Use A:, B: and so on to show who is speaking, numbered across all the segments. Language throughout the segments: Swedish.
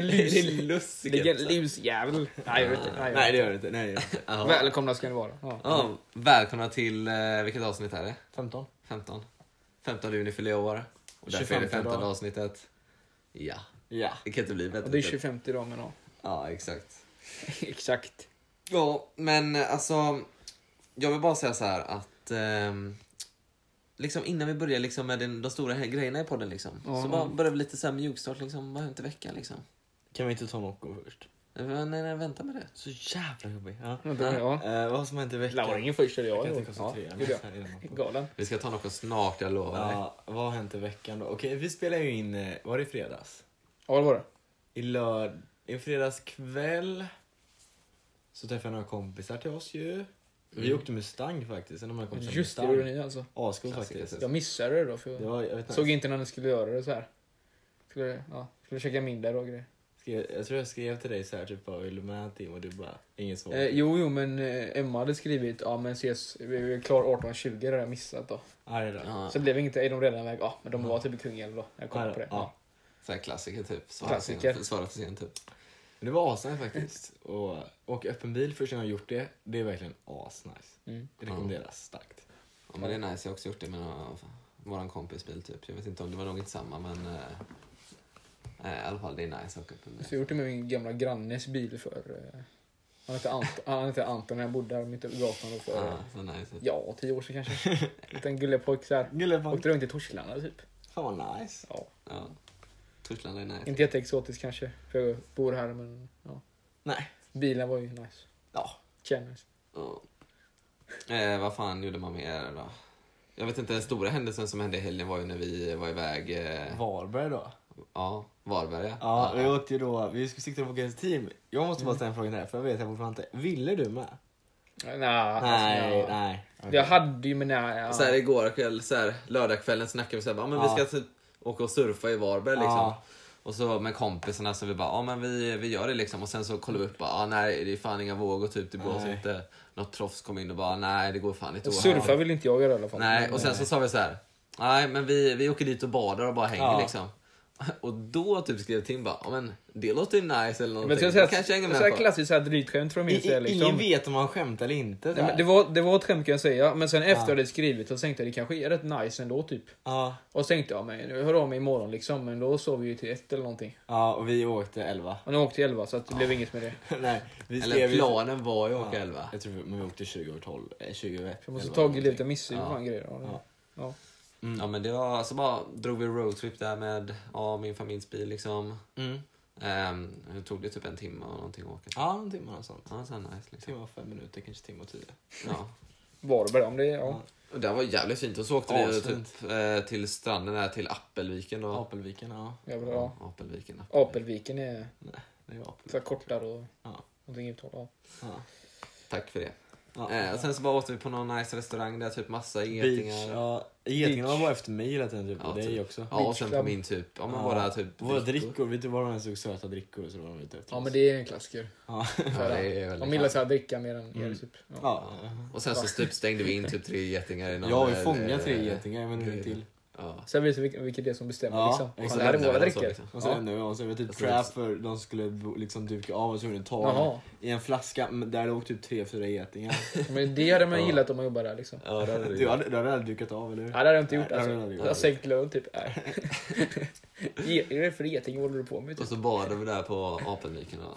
A: Det är
B: Vilken
A: lussigen.
B: lusjävel. Nej, jag vet inte. Nej, jag
A: Nej,
B: vet
A: det gör det inte. Nej, det gör det inte.
B: inte.
C: Ja.
B: Välkomna ska ni vara. Ja.
C: Ja, välkomna till, eh, vilket avsnitt är det?
B: 15.
C: 15? 15 juni fyller jag år. Och därför är det
A: 25
C: 15
A: dag.
C: avsnittet. Ja,
A: Ja.
C: det kan inte bli bättre.
B: Och det är 25 idag men ja.
C: Ja, exakt.
B: Exakt.
C: Ja, men eh, alltså, jag vill bara säga så här att ehm, Liksom innan vi börjar liksom med den, de stora här grejerna i podden liksom.
B: Ja.
C: Så bara börjar vi lite så här mjukstart liksom, vad har hänt i veckan liksom?
A: Kan vi inte ta Nocco först?
C: Eh, Nej, nej, vänta med det.
A: Så jävla jobbig. Ja.
B: Vänta, ja.
A: Eh, vad som hänt i veckan?
B: Lauringen först eller
A: Jag
B: jag?
A: kan
B: då?
A: inte koncentrera
B: Ja, gjorde
A: mig.
B: jag.
A: här i den här podden.
B: Galen.
C: Vi ska ta något snart, jag lovar dig.
A: Ja, vad har hänt i veckan då? Okej, vi spelar ju in, eh, var det i fredags?
B: Ja, det var det.
A: I lörd... I fredags kväll så träffade jag några kompisar till oss ju. Vi
B: Mm.
A: åkte Mustang faktiskt. En av mina kompisar
B: Just det,
A: Mustang.
B: gjorde ni alltså.
A: Ascool
C: Klassiker,
A: faktiskt.
B: Jag missade det då. För
A: Det
B: jag
A: var, jag vet inte.
B: såg inte när ni skulle göra det så här. Skulle, ja, skulle käka middag och grejer.
A: Skrev, jag tror jag skrev till dig så här typ bara, vill du med en timme? Och du bara, inget svar.
B: Eh, jo, jo, men eh, Emma hade skrivit ja men ses, vi vi är klar 18.20 det har jag missat då.
A: Arg då.
C: Ja.
B: Så det blev inget, är de redan iväg? Ja, men de var typ i Kungälv då. när Jag kom
A: Arg
B: på det. Ja.
A: då. Ja.
C: Så här klassiker typ. Svara
B: Klassiker.
C: för sent, svara för sent typ.
A: Men det var asnice faktiskt. Och åka öppen bil första gången jag gjort det, det är verkligen asnice.
B: Mm.
A: Det rekommenderas starkt.
C: Ja, men det är nice. Jag har också gjort det med några, våran kompis bil typ. Jag vet inte om det var något samma men eh, eh, i alla fall det är nice att åka upp en
B: Så jag har
C: bil.
B: gjort det med min gamla grannes bil för... Eh, han, hette Ant- han hette Anton när jag bodde här mitt över gatan då för...
C: Ja, så nice.
B: Ja, tio år sedan kanske. En liten gullepojk såhär.
A: Gullefank.
B: Åkte runt i Torslanda typ.
A: Fan vad nice.
B: Ja.
C: Ja. Torslanda är nice.
B: Inte jätteexotiskt kanske, för jag bor här men... Ja.
A: Nej.
B: Bilen var ju nice.
A: Ja.
B: Känner.
C: Ja. Eh, vad fan gjorde man mer då? Jag vet inte, den stora händelsen som hände i helgen var ju när vi var iväg... Eh,
A: Varberg då?
C: ja, Varberga.
A: Ja, Mm. vi åkte ju då, vi skulle sikta på Gais team. Jag måste bara ställa en fråga till dig, för jag vet jag fortfarande inte. Ville du med?
B: Nej, alltså, jag,
A: nej.
B: jag hade ju men nej. Ja.
C: Så här igår kväll, så här, lördagskvällen snackade vi så här, "Ja, men vi
A: Ja.
C: ska typ åka och surfa i Varberg liksom.
A: Ja.
C: Och så med kompisarna så vi bara, ja men vi, vi gör det liksom. Och sen så kollar vi upp, bara, ja nej det är fan inga vågor typ, det blåser
A: Nej.
C: inte. Något proffs kom in och bara, nej det går fan inte
B: Och
C: att åka."
B: surfa vill inte jag göra i alla fall.
C: Nej, och sen så sa vi så här, nej men vi, vi åker dit och badar och bara hänger
A: Ja.
C: liksom. Och då typ skrev Tim bara, ja men det låter ju nice
B: Men
C: eller någonting.
B: så,
C: Men,
B: så, här,
C: kanske jag
B: så
C: hänger
B: här
C: med på.
B: klassiskt så här drytskämt från min sida.
A: I,
B: Liksom.
A: Ingen vet om han skämtar eller inte.
B: Nej, men det, var, det var ett skämt kan jag säga, men sen efter jag hade skrivit så tänkte jag det kanske är rätt nice ändå typ.
A: Ja,
B: Och så tänkte jag, men jag hör av mig imorgon liksom, men då sov vi ju till ett eller någonting.
A: ja, och vi åkte 11.
B: Och nu åkte jag 11 så att det blev inget med det.
A: nej, vi
C: Eller
A: ju-
C: planen var ju att åka
A: Ja,
C: elva.
A: Jag tror vi, men vi åkte 20 över 12, eh, 20 över 1.
B: Jag måste
A: eller
B: tagit
A: någonting.
B: lite missar ju
C: Ja.
B: fan grejer. Ja, det-
A: Ja.
B: Ja.
C: Ja men det var, så bara drog vi roadtrip där med ja, min familjs bil liksom.
A: Mm.
C: Ehm, det tog det typ en timme och någonting att åka.
A: Ja, en timme och sånt.
C: Ja, så här nice liksom.
A: Timme och fem minuter, kanske timme och tio.
C: Ja.
B: Varberg, om det ja.
A: Ja.
C: Och det var jävligt fint. Och så åkte vi
A: Asfint.
C: typ, eh, till stranden där till Appelviken då.
A: Apelviken, ja.
B: ja. bra.
C: Apelviken.
B: Apelviken är
A: Det är Apel.
B: så här kortare och
A: Ja.
B: någonting uttal. Ja.
A: Ja.
C: Tack för det.
A: Ja.
C: Eh, och sen så bara åt vi på någon nice restaurang där, typ massa
A: Beach,
C: getingar. Ja.
A: ja. Getingarna
B: Beach.
A: var efter mig hela tiden, typ.
C: Ja,
A: och dig
C: typ.
A: också.
C: och sen på
B: Beach
C: min typ, ja men
A: Ja.
C: våra typ
A: Våra
C: drickor.
A: drickor, vet du vad de såg söta drickor så var de ute efter
B: ja,
A: oss.
B: men det är en klassiker.
A: Ja.
B: Så
C: Ja,
B: här,
C: det är
B: de gillar
C: väldigt
B: så här att dricka mer än er typ. Ja.
A: Ja.
C: Och sen så typ stängde vi in typ tre getingar i någon...
A: Jag har ju
C: eh,
A: fångat
C: eh,
A: tre getingar, men en till.
C: Ja.
B: Sen visar vi vilket det är som bestämmer
A: Ja,
B: liksom.
A: exakt.
B: Fan, det här är
C: lämnar
B: våra
C: vi dem så,
B: drycker.
C: liksom.
A: Och så
B: Ja.
A: ändrade vi oss, jag vet typ
C: Jag tror Alltså, det-
A: Trapper, de skulle bo- liksom duka av och så gjorde de tag
B: Jaha.
A: i en flaska men där låg typ tre, fyra getingar.
B: Men det hade man gillat om man jobbar där liksom.
C: Ja, det hade vi
A: Du hade, du hade aldrig dukat av, eller hur?
B: Ja, det hade jag inte
A: Nej,
B: gjort
A: det hade
B: alltså.
A: du aldrig
B: Jag
A: gjort.
B: har sänkt lön typ. Nej. Ge- Är det för geting vad håller du på med?
C: Och
B: Typ?
C: så badade vi där på Apelviken och...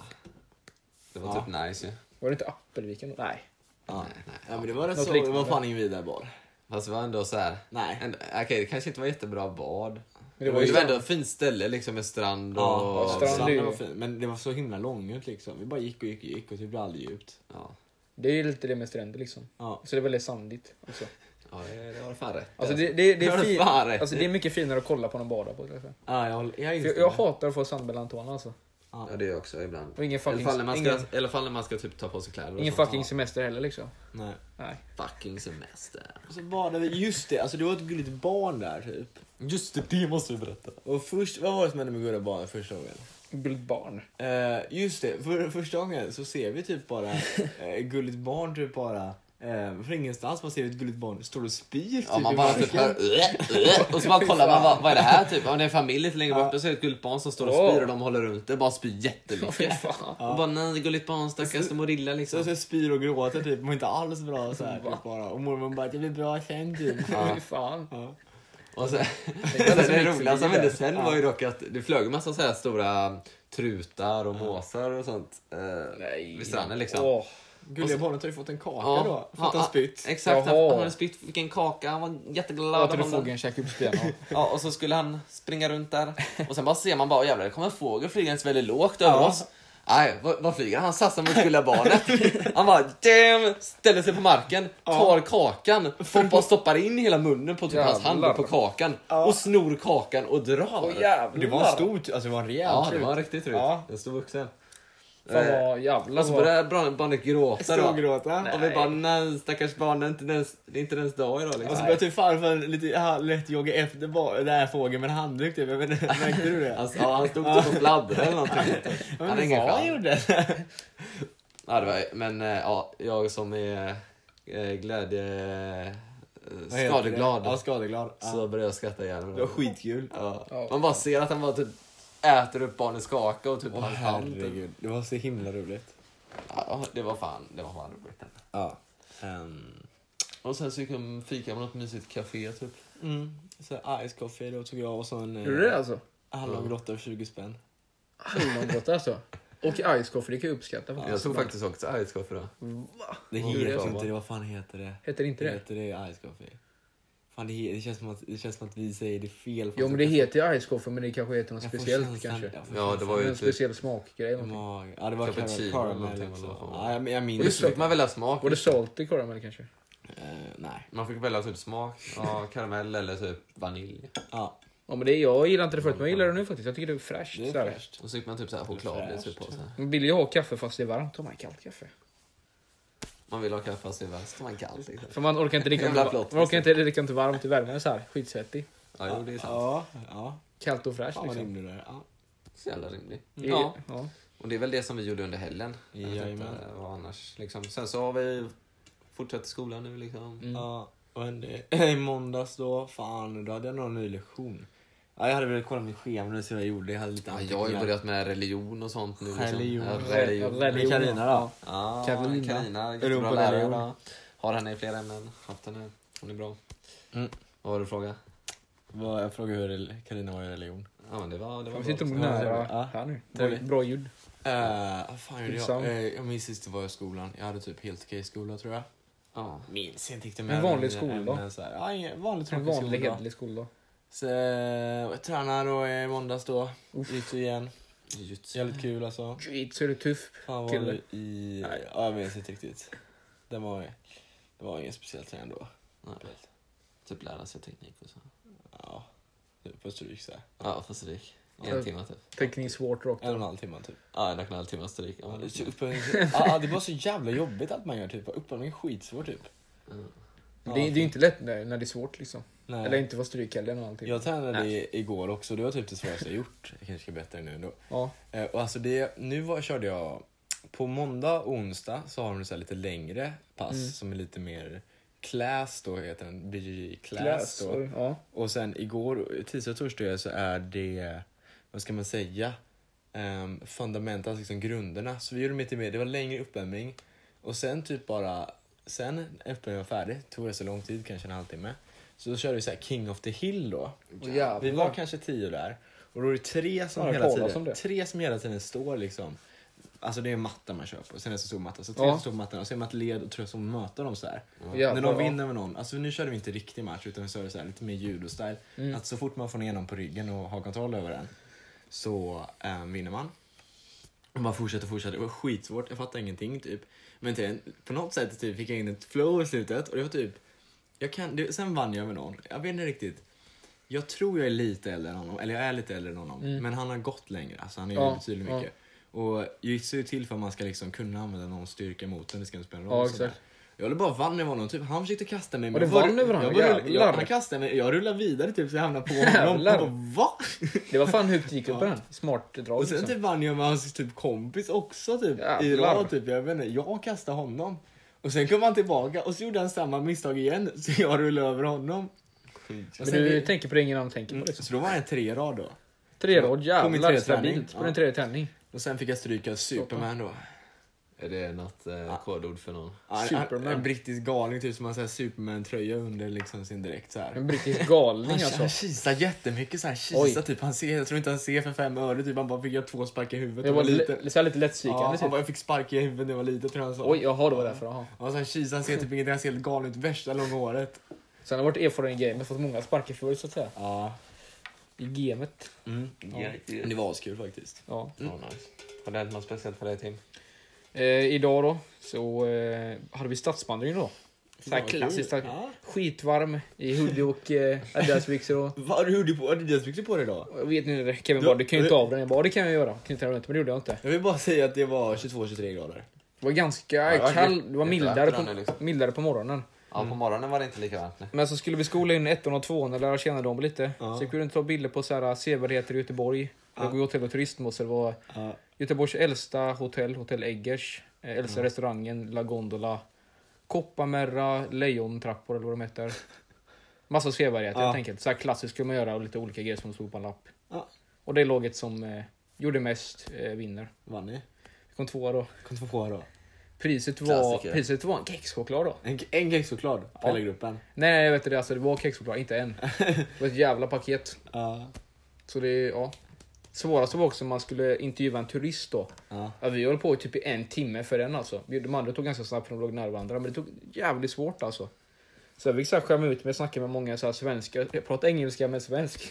C: Det var typ nice ju.
B: Var det inte Appelviken? Nej.
A: Ja.
C: Nej, nej.
A: ja men det var rätt
B: Något
A: så, det
B: liknande.
A: var fan ingen vidare bar.
C: Fast det var ändå så här.
A: Nej.
C: ändå- Okej, det kanske inte var jättebra bad.
B: Men
C: Det
B: det
C: var,
B: var ju
C: ändå ett fint ställe liksom med strand och...
A: Ja,
B: och strand.
A: stranden
B: ju-
A: var fin. Men det var så himla långt liksom. Vi bara gick och gick och gick och det blev aldrig djupt.
C: Ja.
B: Det är ju lite det med stränder liksom.
A: Ja.
B: Så det är väldigt sandigt också.
C: Ja, det det var fan rätt.
B: Alltså det, det, det,
C: Det har
B: är
C: du
B: fin,
C: fan rätt
B: alltså det är mycket finare att kolla på någon bada på. till exempel.
A: Ja, Ah, jag, håller- jag,
B: För jag, jag hatar att få sand mellan tårna alltså.
C: Ja, det är jag också ibland.
B: Och ingen
C: I alla
B: fucking,
C: fall när man ska,
B: ingen,
C: i alla fall när man ska typ ta på sig kläder och
B: ingen
C: sånt.
B: fucking semester heller liksom.
A: Nej.
B: Nej.
C: fucking semester.
A: Och så badade vi, just det, alltså det var ett gulligt barn där typ.
C: Just det, det måste vi berätta.
A: Och först, vad var det som hände med gulliga barnet första gången?
B: Gulligt barn.
A: Eh, just det, för, första gången så ser vi typ bara eh, gulligt barn typ bara Eh, från ingenstans, man ser ett gulligt barn, står och spyr.
C: Ja,
A: typ
C: man
A: i
C: bara typ
A: marken.
C: hör, "Äh, och så bara kollar man vad, vad är det här typ? Om det är en familj lite längre bort
B: Ja.
C: och så är det ett gulligt barn som står och
B: Åh.
C: spyr och de håller runt det. Bara spyr
B: Åh, fy
C: jättemycket.
B: fan.
A: Ja.
C: Och bara nej, det gulligt barn stackars, de mår illa
A: Så
C: liksom.
A: så spyr och gråter typ, mår inte alls bra så här,
B: Va?
A: typ bara. Och mormor bara, det blir bra sen typ.
C: Ja.
B: Fy fan.
A: Ja.
C: Och sen,
B: är
C: sen
B: som
C: det roliga som hände
B: Lyxliv.
C: sen var ju dock att det flög en massa så här stora trutar och måsar och sånt eh, vid stranden liksom.
B: Åh,
A: Gulliga barnet har ju fått en kaka
C: Ja.
A: då, för att han
C: Ja,
A: spytt.
C: Exakt, han,
B: Jaha.
C: han hade spytt, fick en kaka, han var jätteglad.
B: åt en
C: Han bara-
B: fågeln käkade upp spelarna.
C: Ja, och så skulle han springa runt där. Och sen bara ser man bara, "Åh, jävlar, det kommer en fågel flygande väldigt lågt över
B: Ja.
C: oss. Nej, vad, vad flyger han? Han satsar mot gulliga barnet. Han bara damn, ställer sig på marken, tar kakan, hoppar och stoppar in hela munnen på typ hans hand
B: Jävlar.
C: och på kakan och snor kakan och drar.
A: Det var en stor, alltså det var en rejäl
C: ja, det
A: trut.
C: var en riktig trut.
A: Ja.
C: En stor vuxen.
B: Fan
C: Eh,
B: vad jävla
C: Och så
B: bra.
C: började barnet, barnet gråta då.
A: Storgråta.
C: Och vi bara, nej stackars barn, det är inte ens, det är inte ens dag idag
A: Och så
C: liksom.
A: började typ farfar lite ja, lätt jogga efter ba- den här fågeln med en handduk typ. Jag vet inte, Märkte du det?
C: Alltså, ja, han stod typ och fladdrade eller någonting.
A: Jag
C: hade
A: vet inte
C: ingen
A: vad han
C: chans.
A: gjorde.
C: Ja, det var, men eh, ja, jag som är eh, glädje... eh,
A: Vad heter
C: Skadeglad.
A: det? Ja, skadeglad. Ja.
C: Så började jag skratta igen.
A: Det var skitkul.
C: Ja.
B: Ja.
C: Man bara ser att han bara typ äter upp barnets kaka och typ
A: Åh
C: hans hand.
A: herregud, det var så himla roligt.
C: Ja, det var fan, det var fan roligt.
A: Ja. Ehm,
C: Och sen så gick de fika på något mysigt café typ.
A: Mm. Så ice coffee, då tog jag och så en eh,
B: Gjorde du det alltså?
A: hallongrotta för 20 spänn.
B: Hallongrotta alltså. Och ice coffee, det kan jag uppskatta faktiskt.
C: jag tog faktiskt också ice coffee då.
B: Va?
A: Det
C: Vad gjorde jag
A: heter
C: då?
A: inte det, vad fan heter det?
B: Heter det inte
C: Mm.
B: det?
A: Heter det ice coffee? Fan, det, he- det, känns som att, det känns som att vi säger det fel.
B: Jo men det heter ju ice coffee men det kanske heter något
A: Jag får
B: speciellt
A: känslan-
B: kanske.
A: jag får
C: Ja, det
A: känslan
C: var
B: En
C: ju typ-
B: speciell smakgrej.
A: i
B: någonting.
A: magen. Ja, det var
C: Cappuccino
A: caramel-
C: eller någonting,
A: caramel också.
C: eller vad fan.
A: liksom. Ja, jag, jag minns
C: Och så fick
A: inte.
C: man välja smak.
B: Var det salty caramel kanske?
A: Eh, nej.
C: Man fick välja typ smak, ja, karamell eller typ vanilj.
A: Ja,
B: Ja men det, jag gillar inte det förut men jag gillar det nu faktiskt. Jag tycker det är fräscht.
A: det är
B: sådär.
A: fräscht.
C: Och så fick man typ så här choklad lite typ på sig.
B: Man vill ju ha kaffe fast det är varmt. Tar man kallt kaffe?
C: Man vill ha kaffe fast det är värst om man kan. Liksom.
B: För man orkar inte dricka,
C: Jävla
B: inte,
C: flott,
B: man orkar inte dricka inte varmt i värmen såhär. Skitsvettig.
C: Ja, jo, det är sant.
A: Ja, ja.
B: Kallt och fräscht
A: Fan vad
B: liksom.
A: rimlig du är. Ja.
C: Så jävla rimlig.
A: Mm.
B: Ja. ja.
C: Och det är väl det som vi gjorde under helgen. Jag vet
A: Jajamän.
C: inte Vad annars, liksom. Sen så har vi fortsatt skolan nu liksom.
A: Ja, och en, i måndags då, fan, då hade jag nog en ny lektion. Ja, jag hade velat kolla mitt schema nu så jag gjorde, jag hade lite
C: Ja, jag har ju
A: anteckningar.
C: börjat med religion och sånt nu. Liksom.
A: Religion.
C: Ja,
B: Ja,
C: religion.
B: religion.
A: Men Carina då?
C: Ja,
B: Carolina.
C: Carolina, jättebra
A: Europa
C: lärare.
A: religion.
C: då. Har henne i flera ämnen. Haft henne. Hon är bra.
A: Mm.
C: Vad var du fråga?
A: Vad- Jag frågade hur Carina var i religion.
C: Ja, men det var, det var
B: Fan, vi sitter
C: bra.
B: nog
A: Ja, det är
B: nära
A: bra. Ja.
B: här nu.
A: Trevligt.
B: Bra ljud.
A: Eh, vad fan gjorde jag?
B: Pinsam.
A: Eh, jag minns sist var jag i skolan. Jag hade typ helt okej skola tror jag.
C: Ja.
A: Minns inte riktigt.
B: En
A: men jag
B: vanlig
A: hade mina
B: skoldag.
A: ämnen så här. Ja, en vanlig
B: En
A: tråkig
B: vanlig
A: skoldag.
B: hederlig skoldag.
A: Så, eh, jag tränar då i måndags då. Jitsu igen.
C: Jutsu.
A: Jävligt kul alltså.
B: Jitsu är du tuff.
A: Fan var
B: Kille.
A: vi i...
B: Nej.
A: Ja, jag minns inte riktigt. Det var, det var ingen speciell träning då.
C: Nej. Typ lära sig teknik och så.
A: Ja, typ på stryk så här.
C: Ja, fast det gick. En
B: Ja.
C: timme typ.
B: Tekniskt svårt rakt.
A: En och en halv timme typ.
C: Ja, en och en halv timme stryk. Ja,
A: Ja,
C: det gick.
A: upp, ja, det var så jävla jobbigt allt man gör typ. Uppvärmning är skitsvår typ.
C: Mm.
B: Det, det är ju inte lätt när, när det är svårt liksom.
A: Nej.
B: Eller inte vara stryk heller och allting.
A: Jag tränade
C: Nej.
A: i- igår också, det var typ det svåraste jag gjort. Jag kanske ska berätta det nu ändå.
B: Ja.
A: Eh, Och alltså det, nu var, körde jag, på måndag och onsdag så har de så här lite längre pass
B: Mm.
A: som är lite mer class då, heter den, BGG class,
B: Glass
A: då.
B: och- Ja.
A: Och sen igår, tisdag och torsdag så är det, vad ska man säga, um, fundamenta, alltså liksom grunderna. Så vi gjorde mitt i med, det var längre uppvärmning och sen typ bara, sen när uppvärmningen var färdig, tog det så lång tid, kanske en halvtimme. Så då körde vi så här King of the Hill då.
B: Och jävlar.
A: Vi var kanske tio där. Och då är det tre som,
B: Har du
A: hela
B: talat om
A: tiden,
B: det?
A: tre som hela tiden står liksom. Alltså det är matta man kör på, sen är det så stor matta. Så tre
B: Ja.
A: som står på mattan och så är man ett led och tror jag som möter dem så här.
B: Jävlar,
A: När de
B: ja.
A: vinner med någon, alltså nu körde vi inte riktig match utan vi körde så här, lite mer judo-style.
B: Mm.
A: Att så fort man får ner någon på ryggen och har kontroll över den så eh, vinner man. Och man fortsätter och fortsätter. Det var skitsvårt, jag fattade ingenting typ. Men till, på något sätt typ, fick jag in ett flow i slutet och det var typ, jag kan, det, sen vann jag med någon. Jag vet inte riktigt. Jag tror jag är lite äldre än honom, eller jag är lite äldre än honom. Men han har gått längre, alltså han är
B: Mm. Ja,
A: ju betydligt
B: ja.
A: mycket. Och jitsu är ju till för att man ska liksom kunna använda någon styrka mot den, det ska inte spela någon roll.
B: Ja,
A: och sådär.
B: exakt.
A: Jag höll bara vann över honom, typ, han försökte kasta mig.
B: Och det
A: jag bara-
B: vann över honom,
A: jag bara rull-
B: jävlar.
A: jag, Han kastade mig, jag rullade vidare typ så jag hamnade på honom.
B: Jävlar.
A: Han bara, va?
B: Det var fan högt gick upp på den. Smart drag
A: Och sen
B: liksom.
A: typ vann jag med hans typ, kompis också typ, i
B: Jävlar.
A: rad. Typ. Jag, vet inte, jag kastade honom. Och sen kom han tillbaka och så gjorde han samma misstag igen så jag rullade över honom. Och
B: Men
A: sen
B: du
A: vi-
B: tänker på det ingen annan tänker på. Liksom.
A: Så då var det en tre rad då.
B: Tre rad,
A: På min
B: jävlar
A: tredje
B: stabilt.
A: träning,
B: På
A: ja.
B: din tredje träning.
A: Och sen fick jag stryka Superman då.
C: Är det något eh, kodord för någon?
A: Ja, en-
B: Superman.
A: En brittisk galning typ som har så här Superman-tröja under liksom sin dräkt så här.
B: En brittisk galning
A: Han,
B: alltså.
A: han kisar jättemycket så här, kisar
B: Oj.
A: typ. Han ser, jag tror inte han ser för fem öre typ. Han bara fick jag två sparkar i huvudet.
B: Jag var
A: när jag liten.
B: li- så här lite
A: Ja,
B: lättpsykande
A: han
B: typ.
A: bara, jag fick sparka i huvudet när jag var liten tror jag han sa.
B: Oj, jaha, det var därför. Jaha.
A: Och så han kisar, han ser typ ingenting, han ser helt galen ut. Värsta långa håret.
B: Sen har jag varit erfaren i gamet, fått många sparkar förr så att säga.
A: Ja.
B: I gamet.
A: Mm.
C: Ja.
A: Men det var askul faktiskt.
B: Ja.
C: Ja, nice. Har det hänt något speciellt för dig Tim?
B: Eh, idag då så eh, hade vi stadsvandring då. Så här
A: Vad
B: klassiskt.
A: kul.
B: så här-
A: Ja.
B: Skitvarm i hoodie och eh, Adidasbyxor och...
A: Vad du gjorde på Adidas-byxor på dig idag?
B: Jag vet inte, Kevin
A: Du-
B: bara du kan ju inte av den. Jag bara det kan jag göra. Knyta den runt, men det gjorde jag inte.
A: Jag vill bara säga att det var 22-23 grader.
B: Det var ganska
C: det var
B: kall,
C: lite-
B: det var
C: lite
B: mildare
C: öppnare
B: på,
C: liksom.
B: mildare på morgonen.
C: Ja,
A: Mm.
C: på morgonen var det inte lika varmt. Nej.
B: Men så skulle vi skola in ettan och tvåan och lära känna dem lite.
A: Ja.
B: Så vi kunde ta bilder på så här äh, sevärdheter i Göteborg. Det går ju hotell och turistmål. Det var Göteborgs äldsta hotell, Hotell Eggers. eh, Äldsta restaurangen, La Gondola. Kopparmärra, Lejontrappor eller vad de heter. Massa sevärdheter
A: Ja.
B: helt enkelt. Så här klassiskt skulle man göra och lite olika grejer som stod på en lapp.
A: Ja.
B: Och det laget som eh, gjorde mest eh, vinner.
A: Vann ni?
B: Vi kom tvåa då.
A: Kom två på då.
B: Priset var,
C: Klassiker.
B: priset var en kexchoklad då.
A: En, en kexchoklad på
B: Ja.
A: hela gruppen.
B: Nej, nej, jag vet inte det. Alltså, det var kexchoklad, inte en. Det var ett jävla paket.
A: Ja.
B: Så det, ja. Svårast var också om man skulle intervjua en turist då.
A: Ja.
B: Ja, vi höll på i typ i en timme för den alltså. Vi- De andra tog ganska snabbt för de låg nära varandra, men det tog jävligt svårt alltså. Så jag fick så här skämma ut mig och snacka med många så här svenskar. Jag pratade engelska med svensk.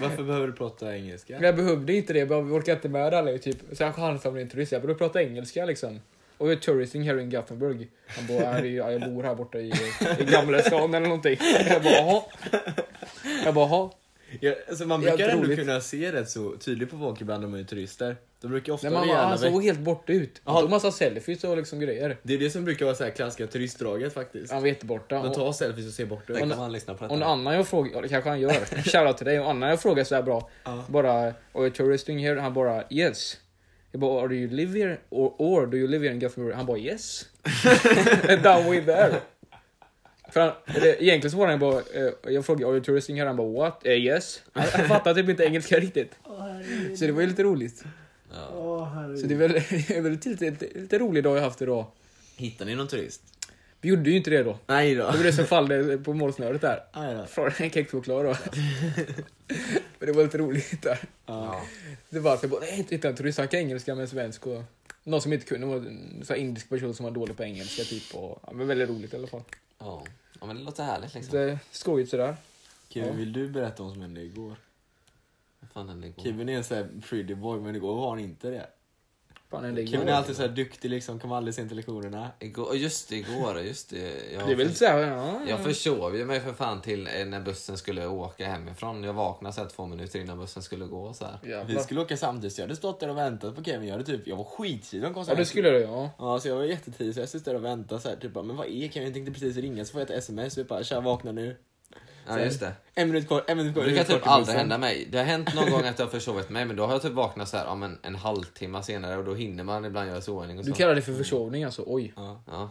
A: Varför behöver du prata engelska?
B: Men jag behövde inte det, jag bara, vi orkade inte med det alla. Typ. Så jag chansade med en turist, jag började prata engelska liksom. Och jag är touristing här i Gothenburg. Han bara, "Ja, det är- ja, jag bor här borta i, i Gamla stan eller någonting. Jag bara, jaha. Jag bara, jaha.
A: Ja, alltså man
B: Helt
A: brukar ändå
B: roligt.
A: kunna se rätt så tydligt på folk ibland när man är turister. De brukar ofta
B: Nej,
A: vara
B: man, alltså, han
A: jävla
B: såg
A: väck.
B: helt bort ut. Han
A: Jaha.
B: tog massa selfies och liksom grejer.
A: Det är det som brukar vara så här klassiska turistdraget faktiskt.
B: Han var jätteborta.
A: De
B: Och,
A: tar selfies och ser bort
C: Tänk
A: ut.
C: om
B: Och-
C: han lyssnar på
B: och en
C: detta.
B: annan jag frågade, ja, det kanske han gör. Shoutout till dig. Och en annan jag frågade så här bra.
A: Ja.
B: Bara, are you touristing here? Han bara, yes. Jag bara, are you live here? Or, or do you live here in Gothenburg? Han bara, yes. Down with there. För han, eller, egentligen så var han bara, eh, jag frågade, are you touristing here? Han bara, what? Eh, yes. Han, han fattade typ inte engelska riktigt. Så det var ju lite roligt.
C: Ja.
B: Så det är väl, det är väl lite, lite, lite rolig dag jag haft idag.
A: Hittar ni någon turist?
B: Vi gjorde ju inte det då.
A: Nej då.
B: Det var det som fallde på målsnöret där.
A: Aj då.
B: Från en kexchoklad då. Men det var lite roligt där.
A: Ja.
B: Det var att jag bara, nej inte hittade en turist, han kan engelska men svensk och någon som inte kunde var en sån här indisk person som var dålig på engelska typ. Och, ja, men väldigt roligt i alla fall.
C: Ja. ja, men det låter härligt liksom.
B: Lite skojigt sådär.
A: Kevin, vill du berätta vad som hände igår?
C: Vad fan hände igår?
A: Kevin är en sån här pretty boy, men igår var han inte det.
B: Fan, en
A: Kevin är
B: det,
A: alltid så här duktig liksom, kommer aldrig sent till lektionerna.
C: Igår, just det, igår, just det. Jag,
B: det är väl såhär, ja.
C: jag försov ju mig för fan till eh, när bussen skulle åka hemifrån. Jag vaknade så här två minuter innan bussen skulle gå. Så här.
A: Vi
B: Jävlar.
A: skulle åka samtidigt så jag hade stått där och väntat på Kevin. Jag, hade typ, jag var skittidig de kom så
B: Ja
A: här-
B: det skulle du ja.
A: Ja, så jag var jättetidig så jag stod där och väntade så här, typ bara, men vad är Kevin? Jag tänkte precis ringa så får jag ett sms och jag bara tja vakna nu.
C: Ja, just det.
A: En minut kvar, en minut
C: Det
A: kvar.
C: brukar
A: en minut kvar
C: typ
A: till
C: aldrig
A: bussen.
C: hända mig. Det har hänt någon gång att jag har försovit mig men då har jag typ vaknat så här, ja, men en halvtimme senare och då hinner man ibland göra sig i ordning och
B: Du
C: så.
B: kallar det för försovning alltså, oj.
A: Ja.
C: Ja.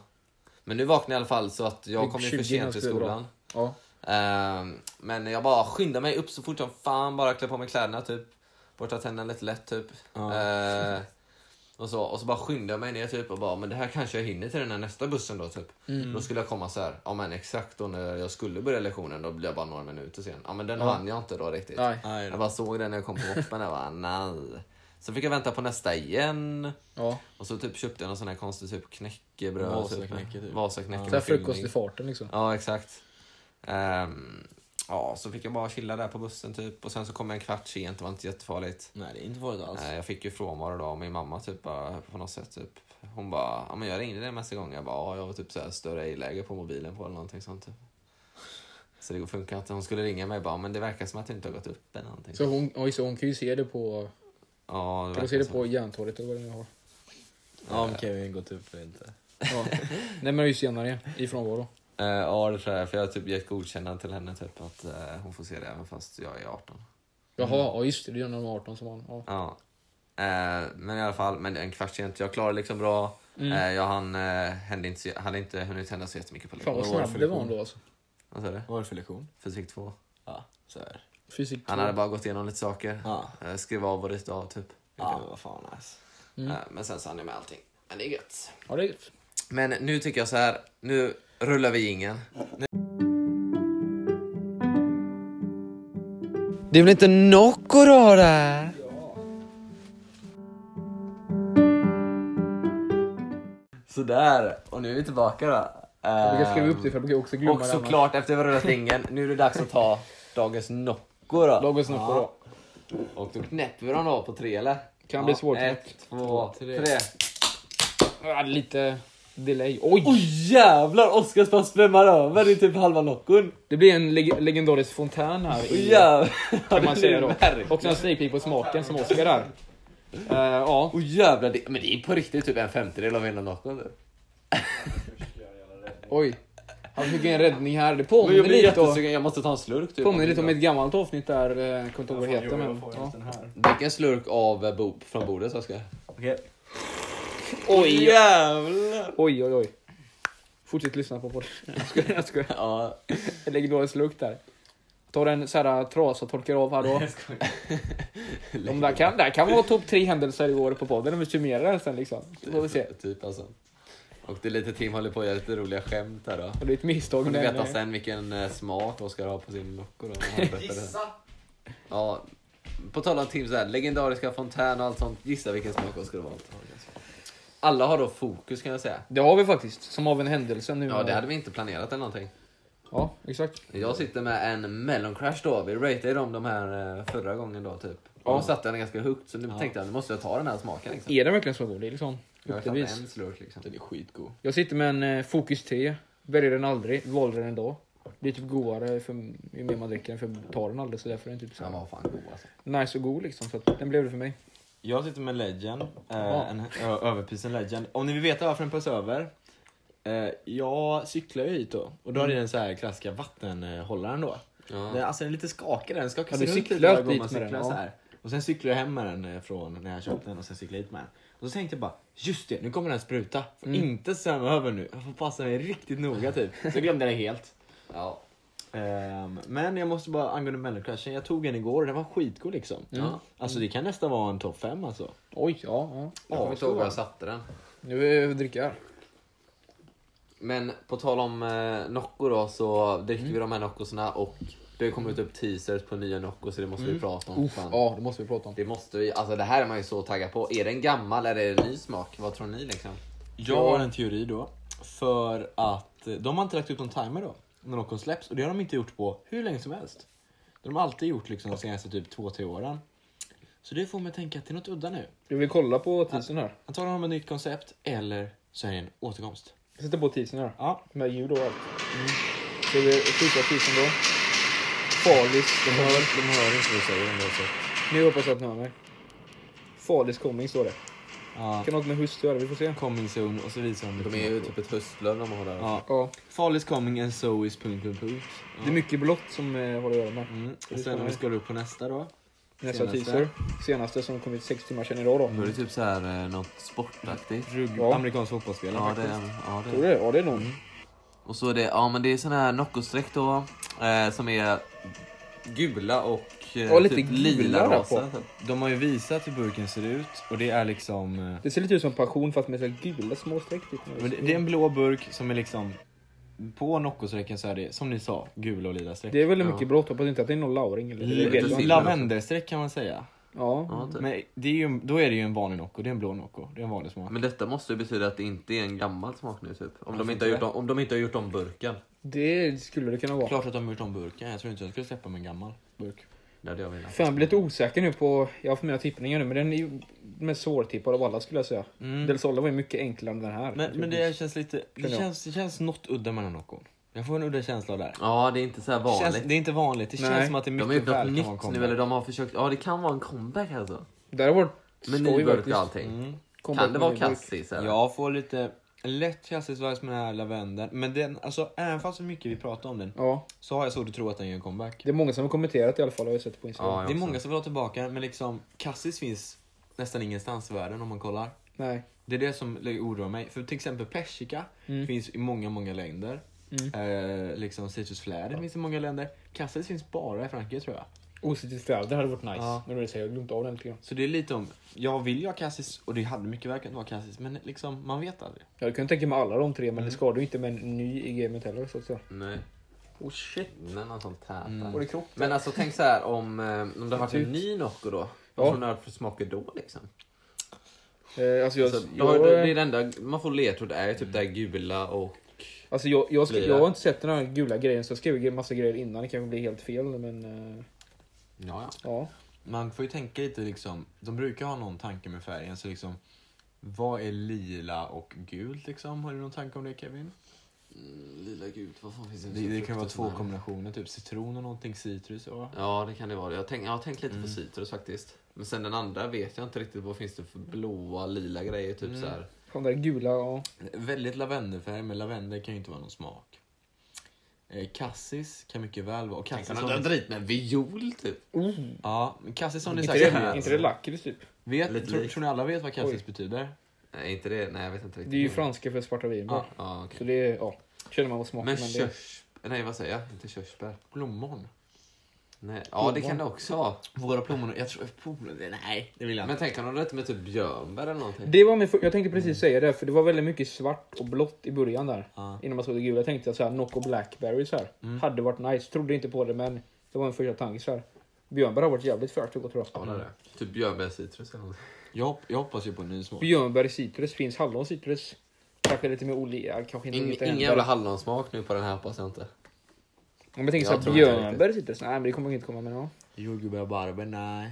C: Men nu vaknade jag i alla fall så att jag
B: Typ
C: kom ju för
B: 20
C: sent till
B: skulle vara bra.
C: skolan.
B: Ja.
C: Ehm, men jag bara skyndade mig upp så fort som fan, bara klä på mig kläderna typ. Borsta tänderna lite lätt typ.
A: Ja.
C: Ehm, och, så, och så bara skyndade jag mig ner typ och bara, men det här kanske jag hinner till den här nästa bussen då typ. Då skulle jag komma så här, ja men exakt då när jag skulle börja lektionen då blev jag bara några minuter sen. Ja men den hann jag inte då riktigt.
B: Nej.
A: Nej,
C: Jag
A: då.
C: bara såg den när jag kom på hoppen och bara nej. Så fick jag vänta på nästa igen.
B: Ja.
C: Och så typ köpte jag någon sån här konstig typ knäckebröd.
A: Vasaknäcke,
C: typ.
A: typ.
C: Vasaknäcke
B: Så här
C: med
B: frukost i
C: fyllning.
B: farten liksom.
C: Ja, exakt. Ehm, ja, så fick jag bara chilla där på bussen typ. Och sen så kom jag en kvart sent, det var inte jättefarligt.
A: Nej, det är inte farligt
B: Alltså.
A: alls.
C: Eh, jag fick ju frånvaro då av min mamma typ bara, på något sätt. Typ. Hon bara, ja men jag ringde dig massa gånger. Jag bara, ja jag var typ så här större i-läge på mobilen på eller någonting sånt typ. Så det funkar inte. Hon skulle ringa mig bara, men det verkar som att det inte har gått upp eller någonting.
B: Så hon, oj, så hon kan ju se det på,
C: Ja, det
B: hon
C: verkar
B: ser det
C: så.
B: på Järntorget eller vad det nu har.
A: Ja, om Kevin gått upp eller typ inte.
B: Ja. Nej men det är ju senare i frånvaro.
C: Eh, ja, det tror jag. För jag har typ gett godkännande till henne typ att eh, hon får se det även fast jag är 18.
B: Jaha, ja just det, det är ju när de är 18 som man. Ja.
C: Ja. Eh, men i alla fall, men en kvart sent. Jag klarade liksom bra.
A: Mm.
C: Eh, jag hann, eh, hände inte, så- hade inte hunnit hända så jättemycket på
B: Fan
C: lektionen.
B: vad snabb det var ändå alltså.
C: Vad sa du?
A: Vad var det för lektion?
C: Fysik 2.
A: Ja, så här.
B: Fysik
C: Han hade bara gått igenom lite saker.
A: Ja,
C: Eh, skrev av och ritade av typ.
A: ja Mm. men vad fan nice.
C: Eh, men sen så hann jag med allting. Men det är gött.
B: Ja, det är gött.
C: Men nu tycker jag så här. Nu rullar vi ingen. Det är väl inte Nocco då där? Sådär, och nu är vi tillbaka då. Eh,
B: Vi kan skriva upp det för jag brukar också glömma
C: Och
B: det annars.
C: såklart efter vi har rullat ringen, nu är det dags att ta dagens Nocco då.
B: Dagens snabbt då.
C: Och då knäpper vi dem då på tre eller?
B: Kan bli svårt.
C: Ett, två, tre.
B: Ja, lite delay. Oj!
C: Oj jävlar, Oskars bara svämmar över, det är typ halva Noccon.
B: Det blir en leg- legendarisk fontän här. i-
C: jävlar.
B: kan man säga då. Också en sneak peek på smaken som Oskar där. Eh, ja.
C: Åh jävlar, det, men det är på riktigt typ en femtedel av typ. hela Noccon nu.
B: Oj. Han fick en räddning här. Det påminner
C: Jag blir
B: lite, om-
C: jättesugen, jag måste ta en slurk typ.
B: påminner lite om ett gammalt avsnitt där. eh, Jag kommer inte ihåg vad det heter. Men, ja.
C: Drick en slurk av eh, bo, från bordet Oskar.
A: Okej.
B: Oj!
C: Jävlar!
B: Oj, oj, oj. Fortsätt lyssna på podden. Jag skojar, jag skojar.
C: Ja,
B: En legendarisk lukt där. Tar en så här trasa och torkar av här då. De där kan, där kan vara topp tre händelser i år på podden om vi summerar den sen liksom. Så får vi se.
C: typ alltså. Och det är lite Tim håller på att göra lite roliga skämt här då.
B: Och det är ett misstag.
C: Får ni
B: men,
C: veta
B: eh,
C: sen vilken eh, smak Oskar har på sin Nocco då. när han berättar det. Ja, på tal om Tims där, legendariska fontän och allt sånt. Gissa vilken smak Oskar har valt. Alla har då fokus kan jag säga.
B: Det har vi faktiskt. Som av en händelse nu.
C: Ja, det hade vi inte planerat eller någonting.
B: Ja, exakt.
C: Jag sitter med en Melon Crash då. Vi ratade ju dem de här eh, förra gången då typ. Och då satte jag den ganska högt så nu tänkte jag nu måste jag ta den här smaken. Liksom.
B: Är den verkligen så god? Det är liksom
C: Jag har tagit
B: uppdevis.
C: en slurk liksom. Den är skitgod.
B: Jag sitter med en eh, Focus 3. Väljer den aldrig, valde den ändå. Det är typ godare för, ju mer man dricker den för tar den aldrig så därför är den typ så
C: Den
B: här,
C: var fan god alltså.
B: nice och god liksom. Så att den blev det för mig.
A: Jag sitter med Legend, eh,
B: Ja.
A: en ö- överprisen Legend. Om ni vill veta varför den pös över. Eh, jag cyklar ju hit då och då hade jag den så här klassiska vattenhållaren då. Den,
C: Ja.
A: alltså den är lite skakig den, skakar
B: Ja,
A: sig
B: du
A: runt lite
B: cyklar
A: varje gång
B: dit
A: man
B: med den,
A: cyklar så
B: ja.
A: här. Och sen cyklar jag hem med den eh, från när jag köpte den och sen cyklar jag hit med den. Och så tänkte jag bara, just det, nu kommer den spruta. Får
B: Mm.
A: inte svämma över nu. Jag får passa mig riktigt noga typ. Så jag glömde den helt.
C: ja.
A: Ehm, men jag måste bara angående mellocrashen, jag tog en igår och den var skitgod liksom.
C: Ja.
A: Alltså det kan nästan vara en topp 5 alltså.
B: Oj, ja. ja.
C: Jag kommer inte ihåg var jag satte den.
B: Nu är vi dricker jag.
C: Men på tal om eh, Nocco då så dricker vi de här Noccosarna och det har kommit upp teasers på nya Nocco så det måste vi prata om.
B: Uff,
C: fan.
B: ja, det måste vi prata om.
C: Det måste vi, alltså det här är man ju så taggad på. Är det en gammal eller är det en ny smak? Vad tror ni liksom?
A: Jag har en teori då. För att eh, de har inte lagt ut någon timer då. När någon släpps. Och det har de inte gjort på hur länge som helst. De har alltid gjort liksom de senaste typ 2-3 åren. Så det får mig att tänka att det är något udda nu.
B: Du vill kolla på
A: Alltså-
B: tisen här?
A: Antagligen har de ett nytt koncept eller så är det en återkomst.
B: Jag sätter på tisen här.
A: Ja,
B: Med ljud och allt. Mm. Ska vi skjuta tisen då? Farlis, de
A: de
B: hör.
A: hör inte vad du säger ändå. Så.
B: Nu hoppas jag att ni hör mig. Farlis coming står det.
A: Ja,
B: Kan något med hust göra, vi får se.
A: coming soon och så visar de
C: De är ju typ ett höstlöv de har där.
A: Ja.
B: Ja.
A: Farlis coming and so is... Punkt, punkt, punkt.
B: Det är mycket blått som eh, har att göra med.
A: Mm. Och sen om vi scrollar upp på nästa då.
B: Nästa
A: Senaste. Mm.
B: teaser. Senaste som kom ut sex timmar sedan idag då.
C: Då är det typ så här eh, något sportaktigt.
A: Rugg,
B: Ja.
A: Amerikansk fotbollsspelare
C: Ja, det,
A: faktiskt.
C: är- ja, det.
B: Tror du
C: är-
B: det? Ja, det är nog.
A: Mm.
C: Och så är det, ja men det är såna här Nocco-streck då. Eh, som är gula och eh,
B: Ja, lite gula där på.
C: typ.
A: De har ju visat hur burken ser ut och det är liksom... eh,
B: Det ser lite ut som passion fast med så här gula små streck. typ.
A: Men det, det är en blå burk som är liksom... På Noccosräcken så är det, som ni sa, gula och lila streck.
B: Det är väldigt
C: Ja.
B: mycket blått. Hoppas inte att det är någon lauring. Eller
A: Li-
C: lite
B: eller-
C: sill.
A: Lavendelstreck kan man säga.
B: Ja.
C: Ja, typ.
A: Men det är ju, då är det ju en vanlig Nocco, det är en blå Nocco. Det är en vanlig smak.
C: Men detta måste ju betyda att det inte är en gammal smak nu typ. Om de inte har gjort om, om, de inte har gjort om burken.
B: Det skulle det kunna vara.
A: Klart att de har gjort om burken, jag tror inte jag skulle släppa med en gammal burk.
C: Det hade jag velat.
B: Fan, jag blir lite osäker nu på... Jag har för mina tippningar nu, men den är ju mest svårtippad av alla skulle jag säga.
C: Mm.
B: Del Sol var ju mycket enklare än den här.
A: Men, men det känns lite, det
B: Kan jag?
A: känns, det känns något udda med den här Noccon. Jag får en udda känsla av det här.
C: Ja, det är inte så här
A: Det,
C: vanligt.
A: känns, det är inte vanligt, det
B: Nej.
A: känns som att det
C: de har gjort
A: mycket väl
C: något
A: kan vara en
C: nytt
A: kombo.
C: nu eller de har försökt. Ja, det kan vara en comeback alltså.
B: Där har varit skoj
C: Med ny burk och
B: faktiskt.
C: allting.
B: Kom
C: Kan
B: bort
C: det
B: med
C: vara
B: ny burk.
C: kassis eller?
A: Jag får lite lätt kassis med den här lavendeln. Men den, alltså, även fast så mycket vi pratar om den
B: Ja,
A: så har jag svårt att tro att den gör en comeback.
B: det är många som har kommenterat i alla fall har jag sett på Instagram.
C: Ja,
A: Det är
C: också.
A: många som vill ha tillbaka den, men liksom kassis finns nästan ingenstans i världen om man kollar.
B: Nej.
A: Det är det som oroar mig. För till exempel persika
B: Mm.
A: finns i många, många länder.
B: Mm.
A: Eh, liksom citrusfläder finns i många länder. Cassis finns bara i Frankrike tror jag.
B: Osiktigt fläder, det hade varit nice.
A: Ja.
B: Men det säger jag, jag glömt av den lite grann.
A: Så det är lite om, jag vill ju ha cassis och det hade mycket väl kunnat vara cassis men liksom man vet aldrig.
B: Jag kunde tänka mig alla de tre, men
C: Mm.
B: det skadar ju inte med en ny i gamet heller så att säga.
C: Nej,
B: Oh shit.
C: men någon sån tät.
A: Mm.
B: Var det kropp?
C: Men alltså tänk så här om, eh, om det har varit en ny Nocco då.
B: Typ. Ja.
C: Vad tror ni att det smakar då liksom?
B: Eh, alltså jag,
C: Alltså, då har-
B: jag,
C: då- det är det enda man får ledtråd är ju typ det här gula och...
B: alltså jag, jag, skri-
C: Blir det?
B: jag har inte sett den här gula grejen så jag skrev en massa grejer innan. Det kanske blir helt fel men eh,
C: Ja, ja.
B: ja.
A: Man får ju tänka lite liksom, de brukar ha någon tanke med färgen så liksom vad är lila och gult liksom? Har du någon tanke om det Kevin?
C: Lila gult, vad fan finns
A: Det, det kan vara två kombinationer, typ citron och någonting citrus. Och...
C: Ja, det kan det vara. Jag, tänk, jag har tänkt
B: Mm.
C: lite på citrus faktiskt. Men sen den andra vet jag inte riktigt vad finns det för blåa, lila grejer typ
B: Mm.
C: så här.
B: De där gula, ja.
A: Väldigt lavendelfärg, men lavendel kan ju inte vara någon smak. Eh, Cassis kan mycket väl vara... Och
C: Tänk
A: cassis
C: om de
A: som,
C: drar dit med en viol typ.
B: Oh,
A: ja, men cassis som ni
B: inte,
A: säkert
B: det,
A: vet.
B: inte det lakrits typ?
A: vet
C: Lite
A: tror,
C: likt.
A: tror ni alla vet vad cassis
B: Oj.
A: betyder?
C: Nej, inte det. Nej, jag vet inte riktigt.
B: Det är ju franska för svarta vinbär.
A: Ja.
C: Ja,
B: Så
C: okej.
B: det är, ja. Känner man vad smaken
C: Men
B: men det,
C: körs... Nej, vad säger jag? Inte körsbär.
A: Plommon.
C: Nej. Ja, det
B: Plommon.
C: kan det också vara.
A: Våra plommon... Jag tror... Plommon nej, det vill jag
C: Men
A: inte.
C: tänk om de drar dit med typ björnbär eller någonting.
B: det var min, för- jag tänkte
C: Mm.
B: precis säga det för det var väldigt mycket svart och blått i början där.
A: Ja.
B: Innan man såg det gula Jag tänkte jag så här, Nocco Blackberry så här.
C: Mm.
B: Hade varit nice, trodde inte på det men det var en första tanke så här. Björnbär har varit jävligt fräscht och gott tror jag.
C: Ja, det är
A: Mm.
C: det. Typ björnbärscitrus eller någonting.
A: Jag, hop- jag hoppas ju på en ny smak.
B: Björnbär i citrus, finns hallon i citrus. Kanske lite mer olja, kanske inte
C: Ing,
B: inte
C: ingen
B: hänbär.
C: jävla hallonsmak nu på den här hoppas jag inte.
B: Om jag tänker
C: Jag
B: så här,
C: tror inte
B: björnbär i citrus, nej men det kommer inte komma men ja.
A: Jordgubbar och barber, nej.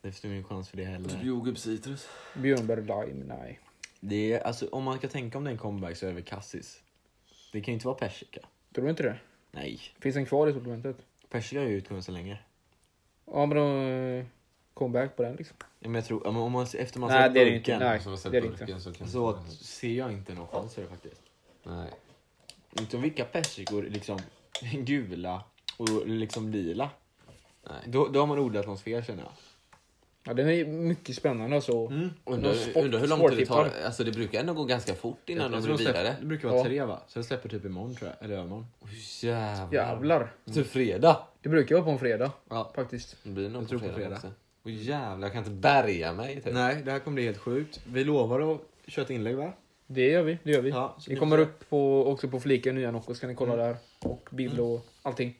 A: Det finns ingen chans för det heller.
C: Jordgubbscitrus.
B: Björnbär lime, nej.
A: Det är, alltså, om man ska tänka om det är en comeback så är det väl cassis. Det kan ju inte vara persika.
B: Tror du inte det?
A: Nej.
B: Finns den kvar i sortimentet?
A: Persika har ju utgått så länge.
B: Ja men då... eh, Comeback på den liksom.
A: Ja, men jag tror, ja, men om man, efter man
B: Nej,
A: sett
B: det är det
A: burken
B: inte. Nej,
C: Som har sett
B: det är det
C: burken så kan
A: så att, ser jag inte någon chans för det faktiskt.
C: Nej.
A: Utom vilka persikor, liksom gula och liksom lila.
C: Nej.
A: Då, då har man odlat något fel känner jag.
B: Ja den är mycket spännande alltså.
C: Undrar,
B: Någon sport-
C: undrar hur lång tid det tar.
B: svårtippad.
C: Alltså det brukar ändå gå ganska fort innan
A: Jag
C: de
A: tror
C: blir
A: de släpper-
C: vidare.
A: Det brukar vara
B: Ja.
A: tre va? Så det släpper typ imorgon tror jag, eller övermorgon.
C: Oh, jävlar.
B: Jävlar.
C: Typ fredag.
B: Det brukar vara på en fredag
A: Ja.
B: faktiskt.
C: Det blir nog
A: Jag
C: på
A: tror på
C: fredag,
A: fredag.
C: också. Oh, jävlar, jag kan inte bärga mig. Typ.
A: Nej, det här kommer bli helt sjukt. Vi lovar att köra ett inlägg va?
B: Det gör vi, det Mm. gör vi.
A: Ja, så
B: Vi
A: ni
B: kommer
A: får-
B: upp på, också på fliken nya Nocco, ska ni kolla där. Och bild och allting.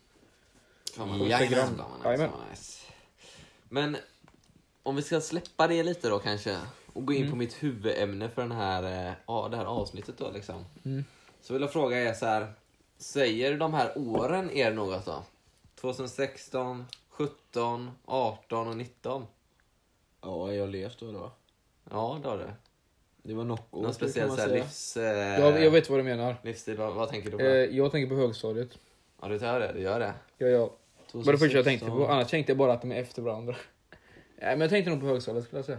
C: Fan, vad
B: Instagram.
C: nice. Fan, vad nice,
B: Jajamän.
C: fan, vad alltså. nice. Men om vi ska släppa det lite då kanske och gå in
B: Mm.
C: på mitt huvudämne för den här, eh, ja, det här avsnittet då liksom.
B: Mm.
C: Så vill jag fråga er så här. Säger de här åren er något då? 2016, 17, 18 och 19?
A: Ja, jag har levt då. då.
C: Ja, det har du.
A: Det var Nocco.
C: Någon speciell så här livs... Eh,
B: Jag, jag vet vad du menar.
C: Livsstil, vad, vad tänker du på?
B: Eh, jag tänker på högstadiet.
C: ja, du tar det, du gör det.
B: Ja, ja. Det var det första jag tänkte på. Annars tänkte jag bara att de är efter varandra. Nej, men jag tänkte nog på högstadiet skulle jag säga.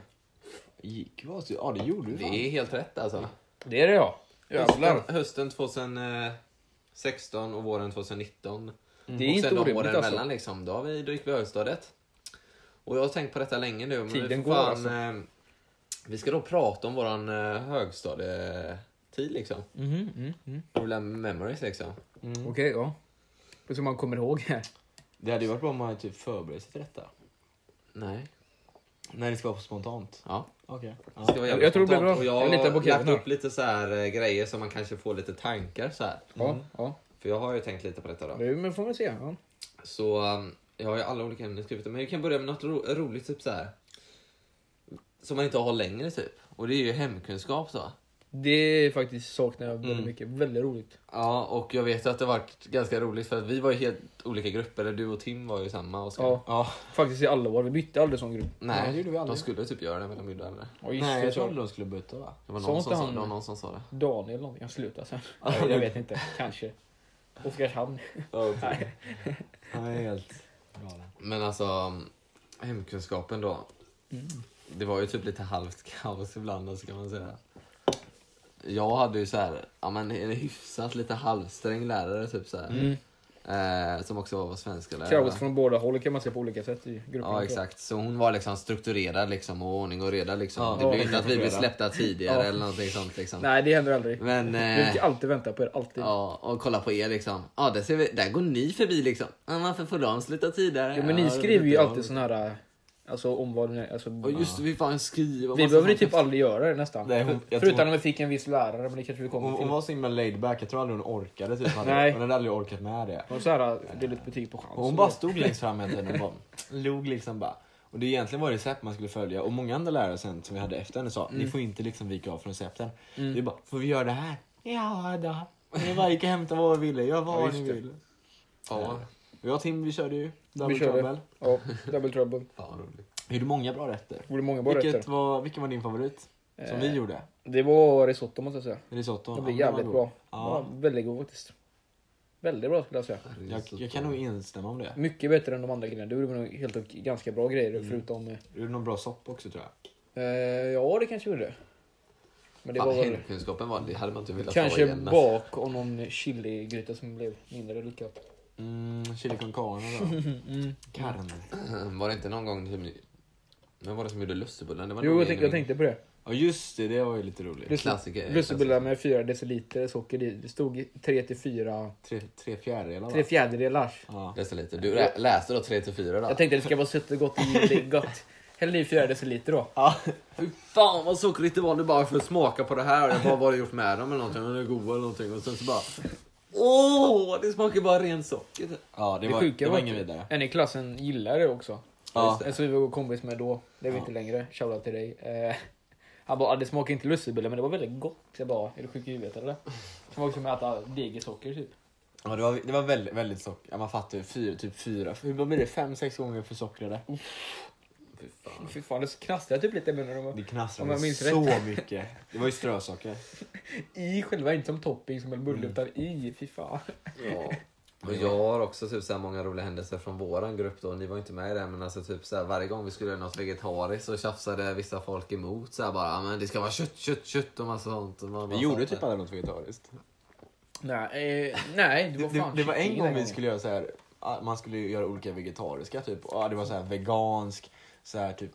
A: Gick vi oss? Ja, det gjorde vi
C: Det
A: fan.
C: är helt rätt alltså.
B: Det är det ja. Jävlar.
C: Hösten, hösten 2016 och våren 2019.
B: Mm. Det är
C: och
B: inte
C: sen de
B: orimligt
C: åren
B: alltså.
C: emellan liksom. Då, har vi, då gick vi högstadiet. Och jag har tänkt på detta länge nu. Men
B: Tiden
C: vi får
B: går,
C: fan,
B: alltså.
C: eh, Vi ska då prata om våran eh, högstadietid liksom.
B: Mhm, mm, mm.
C: Roliga memories liksom.
B: Okej, ja. Det är som man kommer ihåg här.
A: Mm. Det hade ju varit bra om man hade typ förberett sig till detta.
C: Nej.
A: När det ska vara spontant.
C: Ja.
A: Okej.
C: Det ska vara jävligt
B: Jag tror det blir
C: spontant.
B: bra.
C: Och
B: Jag
C: jag
B: litar på
C: har lagt
B: Kevin här.
C: upp lite så här eh, grejer så man kanske får lite tankar så här.
B: Ja, ja.
C: För jag har ju tänkt lite på detta då.
B: Det men får man se. Ja.
C: Så um, jag har ju alla olika ämnen skrivit. Men vi kan börja med något ro roligt, typ så här. Som man inte har längre, typ. Och det är ju hemkunskap så.
B: Det är faktiskt saknar jag väldigt
A: Mm.
B: mycket. Väldigt roligt.
C: Ja, och jag vet att det varit ganska roligt för att vi var ju helt olika grupper. Eller Du och Tim var ju samma. Oskar.
B: Ja.
A: Ja.
B: Faktiskt i alla år. Vi bytte aldrig sån grupp.
C: Nej,
A: Nej, det gjorde vi aldrig.
C: de skulle typ göra det, men de gjorde aldrig det.
B: Ja, just
A: Nej,
B: det,
A: jag
B: så.
A: trodde de skulle byta va?
C: Det var
B: Sa
C: någon,
B: inte
C: som sa,
B: han-
C: det var någon som sa det.
B: Daniel någonting. Han slutade sen. Nej, jag vet inte. Kanske. Oskarshamn. Nej.
A: Han är helt galen.
C: Men alltså, hemkunskapen då. Det var ju typ lite halvt kaos ibland, alltså, kan man säga.
B: Mm.
C: Jag hade ju så här, ja men en hyfsat lite halvsträng lärare typ så här. Eh, som också var svenska
B: Crowds från båda håll kan man se på olika sätt i gruppen.
C: Ja, exakt. Så hon var liksom strukturerad liksom, och ordning och reda. Liksom.
A: Ja,
C: det blev
B: ja,
C: inte att vi blev
A: strukturerad.
C: släppta tidigare
B: Ja.
C: eller någonting sånt. Liksom.
B: Nej, det händer aldrig.
C: Men,
B: Vi brukar
C: eh,
B: alltid vänta på er, alltid.
C: ja, och kolla på er liksom. Ja, där, ser vi, där går ni förbi liksom. Ja, varför får de sluta tidigare?
B: Jo, men ni
C: Ja,
B: skriver ju
C: det-
B: alltid sån här, eh, alltså om vad ni, alltså,
C: Och just det, vi fan skriver.
B: Vi
C: massa
B: behöver ju
C: sånt.
B: typ aldrig göra det nästan.
A: Nej, hon-
B: För,
A: jag
B: förutom
A: tror-
B: när vi fick en viss lärare, men det kanske vi kommer
A: Hon, hon
B: till.
A: var så himla laid back, jag tror aldrig hon orkade. Typ. Hon hade-
B: Nej.
A: Hon hade aldrig orkat med det.
B: Och så här, eh, delade ut betyg på chans.
A: Och hon bara stod längst fram hela tiden och bara log liksom bara. Och det egentligen var det SEP man skulle följa och många andra lärare sen som vi hade efter henne sa
B: Mm.
A: ni får inte liksom vika av från SEPten. Vi bara, får vi göra det här? Ja då. Ni bara gick och hämtade vad vi ville, gör vad
B: Ja, just
A: ni
B: det.
A: ville.
C: Ja,
A: Jag och Tim vi körde ju double
B: Vi körde.
A: trouble.
B: Ja, double trouble.
C: fan vad roligt.
A: Vi gjorde många bra rätter.
B: Gjorde många bra
A: Vilket
B: rätter.
A: Var, vilken var din favorit? Som
B: Eh,
A: vi gjorde?
B: Det var risotto måste jag säga.
A: Risotto?
B: Det blev
A: Ja, den var
B: jävligt
A: god.
B: bra. Ja.
A: Ja,
B: väldigt god faktiskt. Väldigt bra skulle jag säga.
A: jag, jag kan nog instämma om det.
B: Mycket bättre än de andra grejerna. Du gjorde nog helt och ganska bra grejer förutom... eh,
A: Du gjorde någon bra sopp också tror jag.
B: Eh, ja, det kanske jag gjorde. Men det
C: Fan, alltså,
B: var väl
C: hemkunskapen var det hade man inte velat ha
B: kanske
C: igen. alltså.
B: bak och någon chiligryta som blev mindre lyckad.
A: Mm, chili con carne då.
B: Mm.
A: Carne.
C: Ehm, Var det inte någon gång som... Vem var det som gjorde lussebullen? Det var
B: Jo,
C: någon
B: jag tänkte, jag
C: mening.
B: tänkte på det.
A: Ja just det, det var ju lite roligt.
B: Lusse-
C: Klassiker.
B: Lussebullar med 4 deciliter socker i. Det stod 3 till 4,
A: Tre, tre fjärdedelar
B: 3
A: va?
B: fjärdedelar.
A: Ja.
C: Läste lite. Du lä- läste då 3 till 4 då?
B: Jag tänkte att det ska vara sött och gott i det är gott. Häll i 4 deciliter då.
C: Fy fan vad sockrigt det var nu bara för att smaka på det här. Jag bara, vad har du gjort med dem eller någonting? De är goda eller någonting. Och sen så bara... Åh, det smakar bara ren socker.
A: Ja, det,
B: Det
A: var,
B: sjuka
A: det var
B: var
A: ingen
B: att-
A: vidare.
B: En i klassen gillar det också.
A: Ja.
B: En som vi var kompis med då, det är vi inte längre, shoutout till dig. Eh, han bara, "Ah, det smakar inte lussebullar men det var väldigt gott. Jag bara, är du sjuk i huvudet eller? Det var som att äta deg i socker typ.
A: Ja, det var, det var väldigt, väldigt socker. Ja, man fattar ju. Fyra, typ fyra. Hur vad blir det? Fem, sex gånger för sockrade.
C: Fy fan.
B: Fy fan, det knastrade typ lite i munnen. och bara-
A: Det
B: Om jag
A: knastrade
B: minns
A: så mycket. Det var ju strösocker.
B: I själva, inte som topping som en bulle
A: Mm.
B: utan i, fy fan.
C: Ja. Och jag har också typ så här många roliga händelser från våran grupp då. Ni var ju inte med i det men alltså typ så här, varje gång vi skulle göra något vegetariskt så tjafsade vissa folk emot så här bara "Ah, men det ska vara kött, kött, kött och massa sånt. Och man bara
A: Vi gjorde
C: satt
A: typ
C: där.
A: aldrig något vegetariskt.
B: Nej, eh, nej det
A: Det,
B: var
A: det,
B: fan
A: det var en
B: kyckling
A: gång
B: den
A: vi
B: gången.
A: skulle göra så här. ah, Man skulle ju göra olika vegetariska typ. Ah, det var så här vegansk, så här typ,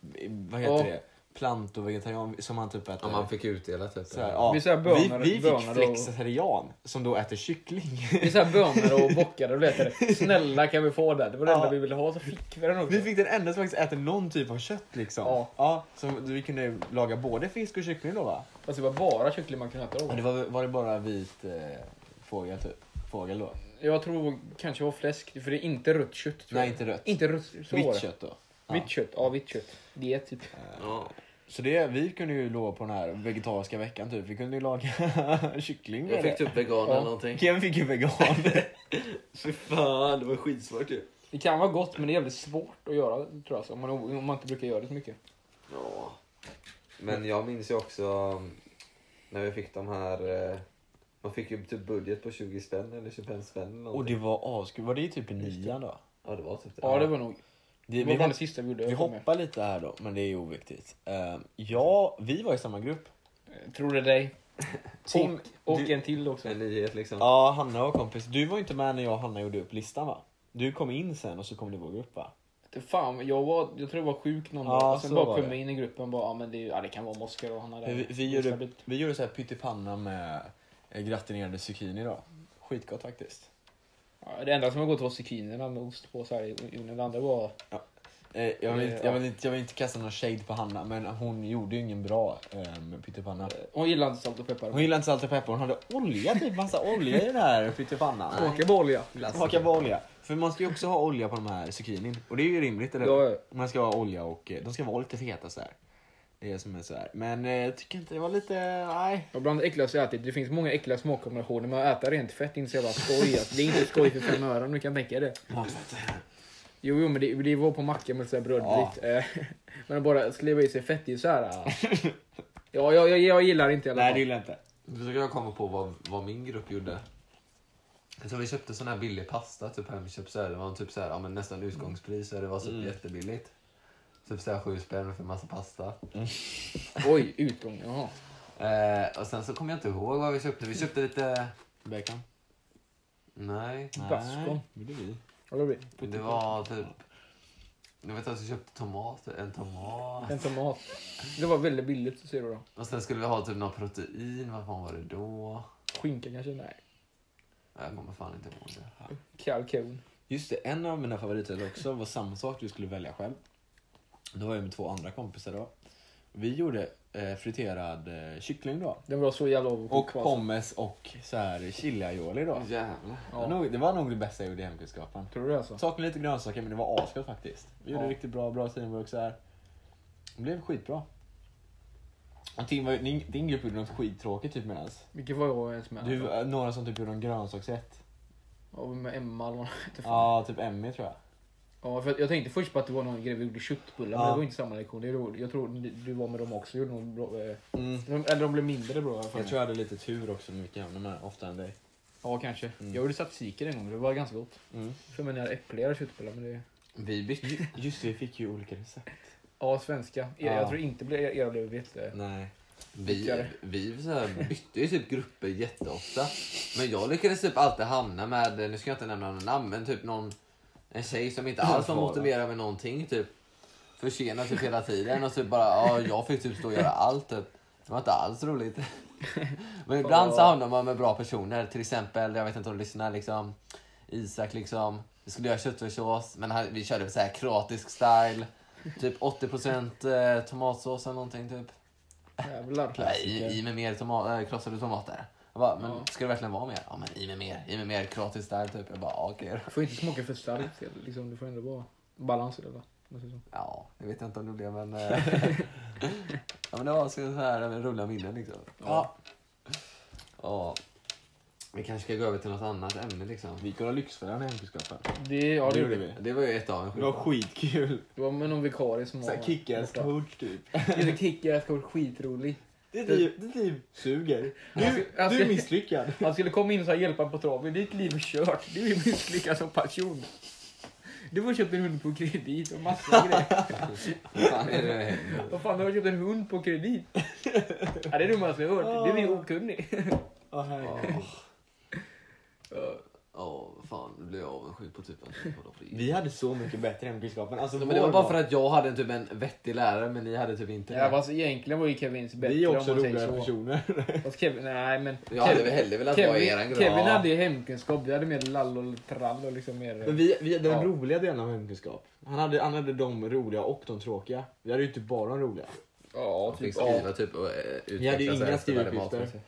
A: vad heter
B: Ja.
A: det? Plant och vegetarian som man typ äter.
C: Ja, man fick utdelat typ.
A: så här, ja.
B: Vi så här
A: vi,
B: bönor-
A: vi fick
B: bönor och-
A: flexitarian som då äter kyckling.
B: Det är såhär bönor och bockar och letar. Snälla kan vi få den? Det var det
A: Ja.
B: enda vi ville ha så fick vi den också.
A: Vi fick den enda som faktiskt äter någon typ av kött liksom.
B: Ja.
A: så vi kunde ju laga både fisk och kyckling då va?
B: Fast det var bara kyckling man kunde äta då.
A: Ja, det var, var det bara vit eh, fågel typ? Fågel då?
B: Jag tror kanske det var fläsk, för det är inte rött kött. Tror
A: Nej
B: jag.
A: inte rött.
B: Inte rött, så var
A: vitt
B: det.
A: kött då. Ja.
B: Vitt kött, ja vitt kött. Det är typ.
C: Ja.
A: Så det, vi kunde ju lova på den här vegetariska veckan typ. Vi kunde ju laga kyckling med
C: Jag fick
A: det.
C: typ vegan
B: Ja.
C: eller någonting.
A: Kevin fick ju vegan.
C: Fy fan, det var skitsvårt ju.
B: Det kan vara gott men det är jävligt svårt att göra tror jag. Alltså, om, man, om man inte brukar göra det så mycket.
C: Ja. Men jag minns ju också um, när vi fick de här... eh, Man fick ju typ budget på 20 spänn eller 25 spänn eller
A: och
C: någonting.
A: det var askul. Var det typ i nian då?
C: Ja, det var typ det.
B: Ja det var nog.
A: Det,
B: Det
A: vi
B: var fan
A: hopp,
B: det sista vi gjorde.
A: vi
B: jag kommer ihåg.
A: hoppar lite här då, men det är ju oviktigt. Eh, ja, vi var i samma grupp.
B: Eh, Tror det dig.
A: Om-
B: och
A: du-
B: en till också.
C: En nyhet liksom.
A: Ja, Hanna var kompis. Du var inte med när jag och Hanna gjorde upp listan va? Du kom in sen och så kom du i vår grupp va?
B: Fan, jag, var, jag tror jag var sjuk någon
A: Ja,
B: dag. Och sen
A: så var
B: bara kom
A: det.
B: jag in i gruppen och bara, ja men det, är- ja, det kan vara Moskva och han hade...
A: Vi, vi, gjorde, vi gjorde så här pyttipanna med eh, gratinerade zucchini då. Skitgott faktiskt.
B: Ja, det enda som har gått var zucchinerna med ost på så här i ugnen. Det andra var...
A: Eh, jag, vill, inte-
B: Ja.
A: jag, vill inte, jag vill inte kasta någon shade på Hanna men hon gjorde ju ingen bra eh, pyttipanna.
B: Hon gillar inte salt och peppar.
A: Hon gillade inte salt och peppar, hon hade olja, typ massa olja i den här pyttipannan.
B: Smakar på olja.
A: Smaka på olja. För man ska ju också ha olja på de här zucchinin. Och det är ju rimligt eller
B: Ja, ja.
A: Man ska ha olja och eh, de ska vara lite feta så här. Det är som är så här. Men eh, jag tycker inte det var lite, nej.
B: Och bland det äckligaste jag ätit, det finns många äckliga smakkombinationer men att äta rent fett är inte så jävla skoj. Alltså, det är inte skoj för fem öre om du kan tänka dig det. Jo, jo men det, det var på macka med så här brödbit. Eh, men att bara sliva i sig fett det är ju så här. eh, Ja, jag, jag, jag gillar inte i alla
A: Nej
B: fall.
A: det gillar jag inte.
C: Nu försöker jag komma på vad, vad min grupp gjorde. Så vi köpte sån här billig pasta, typ hemköp. Så här, det var en typ så här, ja, men nästan utgångspris, så det var typ jättebilligt. Typ så här sju spänn för en massa pasta.
B: Oj, utgång. Jaha.
C: Eh, och sen så kommer jag inte ihåg vad vi köpte. Vi köpte lite...
A: Bacon.
C: Nej.
B: Baskon.
A: Nej, det blir vi.
B: Ja, det blir
C: Det var typ... Jag vet att jag köpte tomater, en tomat.
B: En tomat. Det var väldigt billigt, ser du då.
C: Och sen skulle vi ha typ något protein, vad fan var det då?
B: Skinka kanske? Nej.
C: Nej, Jag kommer fan inte ihåg det.
B: Kalkon.
A: Just det, en av mina favoriter också var samma sak du skulle välja själv. Då var jag med två andra kompisar då. Vi gjorde eh, friterad eh, kyckling då.
B: Den var så jävla avundsjuk
A: Och
B: på, alltså.
A: pommes och så här chiliaioli
B: Mm,
A: då.
C: Jävlar.
A: Det var nog- Det var nog det bästa jag gjorde i hemkunskapen.
B: Tror du det alltså?
A: Saknade lite grönsaker men det var asgott faktiskt. Vi gjorde
B: Ja.
A: riktigt bra, bra teamwork så här. Det blev skitbra. Och Tim var, ju- din, din grupp gjorde något skittråkigt typ medans.
B: Vilket var jag ens med?
A: Du, eh, några som typ gjorde en grönsaksrätt.
B: Ja, med Emma eller vad hon hette. fan.
A: Ja, typ Emmy tror jag.
B: Ja, för att jag tänkte först på att det var någon grej vi gjorde köttbullar, men
A: Ja.
B: det var inte samma lektion. Det var, jag tror du- du var med dem också. Gjorde någon bra, eh,
A: Mm.
B: de- eller de blev mindre bra i alla fall.
A: Jag tror jag hade lite tur också med vilka jag hamnade med, oftare än dig.
B: Ja, kanske.
A: Mm.
B: Jag gjorde sapsiker en gång, det var ganska gott.
A: Mm.
B: För mig när jag hade äppligare köttbullar, men det...
C: Vi bytte.
A: Just det, vi fick ju olika recept.
B: Ja, svenska. Er,
A: Ja.
B: Jag tror inte ble- era blev jätte...
A: Nej.
C: Vi,
B: Lyckade.
C: vi så här bytte ju typ grupper jätteofta. Men jag lyckades typ alltid hamna med, nu ska jag inte nämna några namn, men typ någon en tjej som inte alls var
A: Fara.
C: motiverad med någonting. Typ försenad typ hela tiden och typ bara, ja jag fick typ stå och göra allt typ. Det var inte alls roligt. Men ibland så hamnar man med bra personer, till exempel, jag vet inte om du lyssnar liksom, Isak liksom. Vi skulle göra köttfärssås, men han- vi körde så här kroatisk style. Typ 80% eh, tomatsås eller någonting typ.
B: Jävlar.
C: Nej, i, i med mer toma- äh, krossade tomater. Jag bara, men
B: Ja.
C: ska det verkligen vara mer? Ja, men i med mer. I med mer kroatiskt där typ. Jag bara, ja, okej då.
B: Du får inte smaka för starkt. Liksom, du får ändå vara balans i det. va? Vad säger du?
C: Ja, det vet jag inte om det blev, men... eh, ja, men det var så här roliga minnen liksom. Ja. ja. Vi kanske ska gå över till något annat ämne liksom.
A: Vi kollade Lyxfällan i hemkunskapen.
B: Det, ja, det, gjorde
A: Det gjorde
B: vi.
A: vi.
C: Det var ju ett av en
A: Det var
C: skit.
A: skitkul.
B: Det var med någon vikarie som
A: Såhär kickass
B: borta.
A: coach typ.
B: Just det, kickass coach. Skitrolig.
A: Det typ, det typ suger. Du,
B: Alltså-
A: du är misslyckad.
B: Han skulle komma in och så här hjälpa på traven. Ditt liv är kört. Du är misslyckad som person. Du har köpt en hund på kredit och massa grejer.
C: Fan, är det händer?
B: Vad fan, du har köpt en hund på kredit? Ja, det är det dummaste jag hört. Du är okunnig.
A: Åh, herregud.
C: Ja. Ja, fan, nu blir jag avundsjuk på typ en på det.
A: Vi hade så mycket bättre hemkunskapen. Alltså,
C: Men det var
A: vår
C: bara för att jag hade en typ en vettig lärare, men ni hade typ inte
B: Ja, fast egentligen var ju Kevins bättre
A: Vi är
B: om
A: också
B: man säger
A: roligare
B: så.
A: personer.
B: Fast Kevin, nej men.
C: Jag hade väl hellre velat vara i eran
B: Kevin,
C: grupp.
B: Kevin hade ju hemkunskap. Vi hade mer lall och trall och liksom mer...
A: Men vi, vi, den
B: Ja.
A: roliga delen av hemkunskap. Han hade, han hade de roliga och de tråkiga. Vi hade ju inte bara de roliga.
B: Ja,
C: Fick
B: typ.
C: skriva typ och eh, utveckla
A: Vi hade ju
C: sig
A: inga
C: efter varje
A: skrivuppgifter.
C: mat.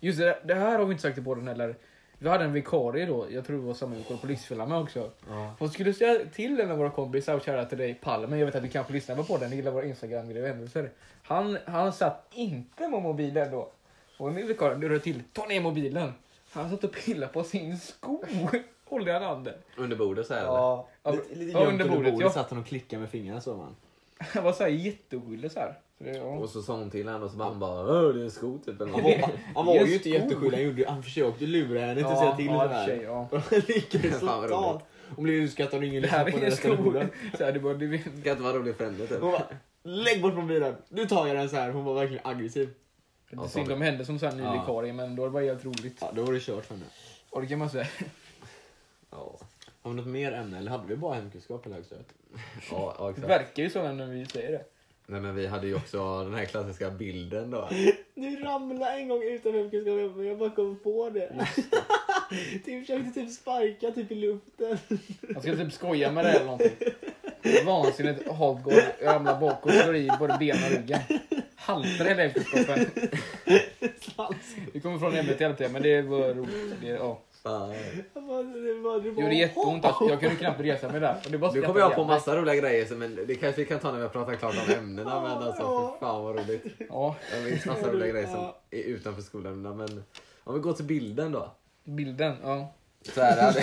B: Just det, det här har vi inte sagt till båden heller. Vi hade en vikarie då, jag tror det var samma vikarie på Lyxfällan med också.
A: Ja.
B: Hon skulle säga till en av våra kompisar och köra till dig Palme, jag vet att du kanske lyssnar på den, du gillar våra Instagram-grejer och händelser. Han, han satt inte med mobilen då. Och nu vikarien, du rör till, ta ner mobilen. Han satt och pillade på sin sko. Håller han handen.
C: Under bordet så här
B: Ja,
A: Lite, lite
B: ja,
A: gömt
B: under
A: under
B: bordet,
A: bordet,
B: ja.
A: satt han och klickade med fingrarna så man.
B: Han var såhär jätteoskyldig såhär. Så det,
C: eller?
B: ja.
C: Och så sa hon till henne och så bara, han bara Åh, det är en sko typ. Eller
A: Han
C: något.
A: var, han var
B: Just
A: ju inte
B: god.
A: jätteskyldig, han, gjorde, han försökte lura henne till att
B: Ja,
A: säga till
B: ja, i och
A: så
B: för sig,
A: här.
B: ja.
A: Och han lyckades
C: Fan, vad
A: totalt.
C: roligt.
A: Hon blev utskattad och ingen
B: Det här
A: lyssnade på
B: är en
A: henne resten av
B: sko.
A: skolan.
B: Så här, det bara, du vet.
C: Det kan inte vara rolig fränder typ.
A: Hon bara, lägg bort mobilen, nu tar jag den så här. Hon var verkligen aggressiv.
B: Det är
C: Ja,
B: synd
C: sorry.
B: om hände som såhär ny
A: Ja.
B: vikarie, men då var det bara helt roligt.
A: Ja, då var det kört för henne.
B: Och det kan man säga.
C: Ja,
A: Har vi något mer ämne eller hade vi bara hemkunskap i högstadiet?
C: ja, ja,
B: Det
C: exakt.
B: verkar ju så när vi säger det.
C: Nej men vi hade ju också den här klassiska bilden då.
A: Du ramlade en gång utan hemkunskap men jag bara kom på det. du försökte typ sparka typ i luften.
B: Man ska typ skoja med det eller någonting. Det är Vansinnigt Hagård ramlar bak och slår i både ben och ryggen. Haltar hela efterkroppen. Vi kommer från ämnet hela tiden men det var roligt. Det, ja.
C: Fan.
B: Det gjorde jätteont. alltså. Jag kunde knappt resa mig där. Och det bara
C: Nu
B: skrattade
C: kommer jag på
B: ihjäl mig.
C: massa roliga grejer så- men det kanske vi kan ta när vi har pratat klart om ämnena. Men alltså fy fan vad roligt.
B: Ja,
C: Jag minns massa roliga grejer som är utanför skolämnena. Men om vi går till bilden då.
B: bilden. Ja.
C: Så här hade...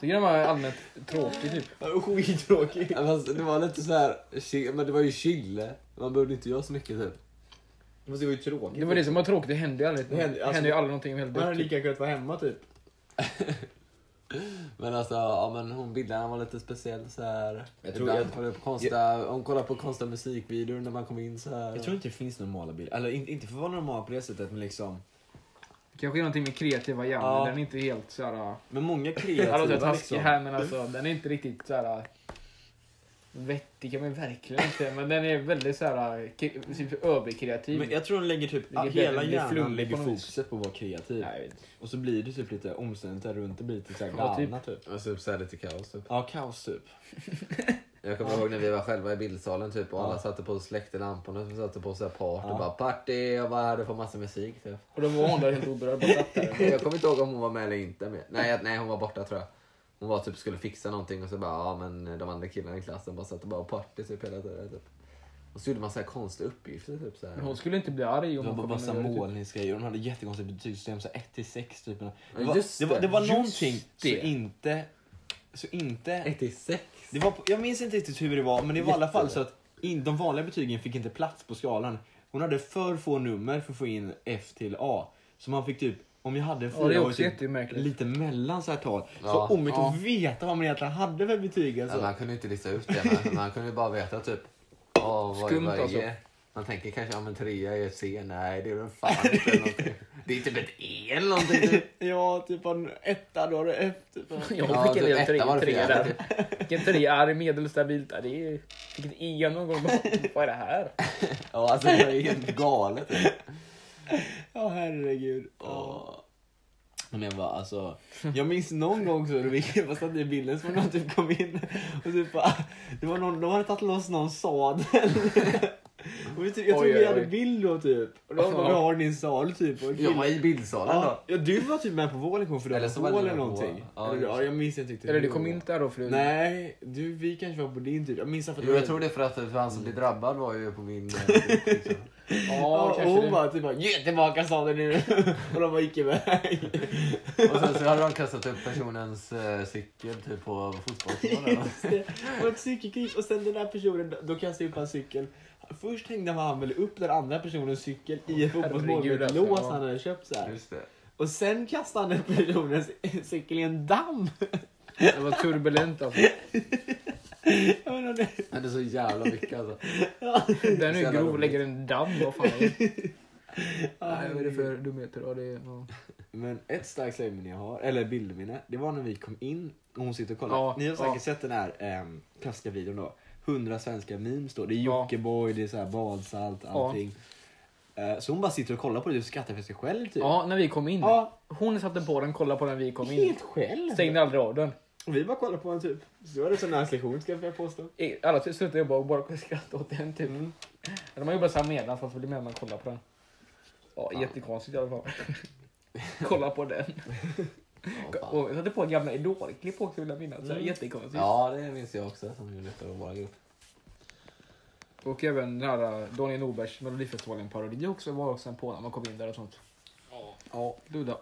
B: Tycker den var allmänt tråkig typ.
A: Skittråkigt.
C: Ja, fast det var lite så här, chi- men det var ju chill. Man behövde inte göra så mycket typ.
A: Fast det var ju tråkigt.
B: Det var det som var tråkigt. Det hände ju aldrig. Det
A: Det hände-
B: hände,
A: alltså-
B: ju aldrig någonting väldigt
A: Man hade
B: dumt.
A: lika kunnat vara hemma typ.
C: Men alltså, ja men hon bildaren var lite speciell så här.
A: Jag tror-
C: Ibland
A: jag-
C: kollade jag på konstiga, hon kollade på konstiga musikvideor när man kom in så här.
A: Jag tror inte det finns normala bilder. Eller inte, inte för att vara normal på det sättet men liksom.
B: Kanske är någonting med kreativa hjärnan.
A: Ja.
B: Den är inte helt såhär...
A: Men många
B: Jag låter
A: kreativa
B: taskig
A: liksom.
B: här men alltså den är inte riktigt såhär... Vettig kan man ju verkligen inte. Men den är väldigt såhär ke- typ överkreativ.
A: Men jag tror de lägger typ,
B: Det är
A: hela
B: väldigt
A: hjärnan
B: flummigt
A: lägger
B: på något vis.
A: fokuset på att vara kreativ.
B: Nej, jag vet inte.
A: Och så blir det typ lite omständigheter runt det blir lite såhär
B: Ja, typ.
A: galna typ.
C: Alltså typ såhär lite kaos typ.
A: Ja, kaos typ.
C: Jag kommer ihåg när vi var själva i bildsalen typ och alla
A: Ja.
C: satte på och släckte lamporna och satte på såhär party
A: Ja.
C: och bara party och bara hörde på massa musik typ.
B: Och då var hon där helt oberörd. Bara satt där.
C: Jag kommer inte ihåg om hon var med eller inte med. Nej, jag- nej hon var borta tror jag. Hon var typ skulle fixa någonting och så bara ja men de andra killarna i klassen bara satt och bara och party typ hela tiden typ. Och så gjorde man såhär konstiga uppgifter typ såhär.
B: Men hon skulle inte bli arg om
A: Det
B: hon
A: var
B: kom
A: bara
B: in typ.
A: massa
B: och gjorde det.
A: målningsgrejer. De hade jättekonstigt betygssystem, så 1 till 6 typ. Det
C: Ja,
A: var,
C: just
A: det var,
C: det.
A: det var
C: Just
A: någonting
C: det.
A: så inte... Så inte
C: 1 till 6.
A: det var, på- jag minns inte riktigt hur det var, men det var i alla fall så att in, de vanliga betygen fick inte plats på skalan. Hon hade för få nummer för att få in F till A. Så man fick typ, om jag hade en
B: Ja, det är
A: fyra var
B: också
A: typ
B: jättemärkligt.
A: lite mellan så här tal.
C: Ja,
A: så omöjligt
B: ja.
A: att veta vad man egentligen hade för betyg.
C: Ja,
A: Alltså.
C: man kunde inte lista ut det, men man kunde ju bara veta typ. Oh, vad
B: Skumt,
C: vad
B: alltså.
C: är? Man tänker kanske, ja men trea är C, nej det är väl fan inte eller någonting. Det är typ ett E eller någonting. typ.
A: Ja, typ en etta, då har du F. Typ.
C: Ja,
B: Jag fick
C: typ
B: en del
C: etta var
B: tre, tre
C: det fjärde,
B: där. Vilken trea, arg, medelstabilt. Ja, det är... Fick ett E någon gång. Vad är det här?
C: Ja, alltså det var ju helt galet.
A: typ. Ja, herregud. Åh. Men jag bara, alltså, jag minns någon gång så det var satt i bilden så var det någon typ kom in och typ bara, det var någon, de hade tagit loss någon sadel. Och vi typ, jag
B: Oj,
A: tror
B: oj,
A: vi hade
B: oj.
A: bild då typ. Och de bara, vi har din sal typ. Och
C: Jag var i bildsalen då.
A: ja, ja, du var typ med på vår lektion för du
C: Eller
A: var
C: så
A: på
C: var
A: eller
C: du med på
A: någonting.
C: vår. Ja,
A: eller,
C: just
A: ja,
C: det.
A: jag minns inte riktigt.
B: Eller du
A: hur
B: kom
A: det var.
B: inte där då för du...
A: Nej, du, vi kanske var på din typ. Jag minns att
C: Jo, jag tror det för att för han som blev drabbad var ju på min... eh, liksom.
B: Ja,
A: Ja, och
B: kanske
A: hon
B: det.
A: bara typ bara, ge tillbaka sadeln nu. och de bara gick iväg.
C: Och sen så hade de kastat upp personens eh, cykel typ på fotbollsplanen.
A: Just det. Och ett cykelkrig. Och sen den där personen, då kastade jag upp hans cykel. Först hängde han väl upp den andra personens cykel i ett fotbollsmål med
B: herregud,
A: ett
B: alltså,
A: lås
B: ja.
A: han hade köpt så här.
C: Just det.
A: Och sen kastade han den personens cykel i en damm.
B: Det var turbulent alltså.
A: Jag menar, det-
C: Men det är så jävla mycket alltså.
B: Den är ju
C: jävla
B: grov
C: roligt.
B: lägger en damm. Vad fan är det? Nej, vad är det för dumheter? Ja, det är... Ja.
A: Men ett starkt slöjdminne jag har, eller bildminne, det var när vi kom in och hon sitter och kollar.
B: Ja,
A: Ni har säkert
B: ja.
A: sett den här ehm, klassiska videon då. 100 svenska memes då. Det är
B: Ja.
A: Jockiboi, det är så här badsalt, allting. Eh, Så hon bara sitter och kollar på det och skrattar för sig själv typ.
B: ja, när vi kom in.
A: Ja,
B: Hon satte på den, kollade på den när vi kom in.
A: helt själv.
B: Stängde aldrig av den.
A: Och vi bara kollar på honom typ. Så var det som nice lektion ska jag påstå. Mm.
B: Alla typ slutade jobba och bara skrattade åt den typ. De har jobbat så här medan fast det blir med när man kollar på den. Ja, jättekonstigt i alla fall. kolla på den.
C: Ja, fan.
B: Och jag satte på gamla idolklipp också vill jag minnas. Så här, Jättekonstigt.
C: ja, det minns jag också som gjorde för vår grupp.
B: Och även den här eh, Daniel Norbergs Melodifestivalen-parodi också var också en på när man kom in där och sånt.
C: Ja.
B: Du då?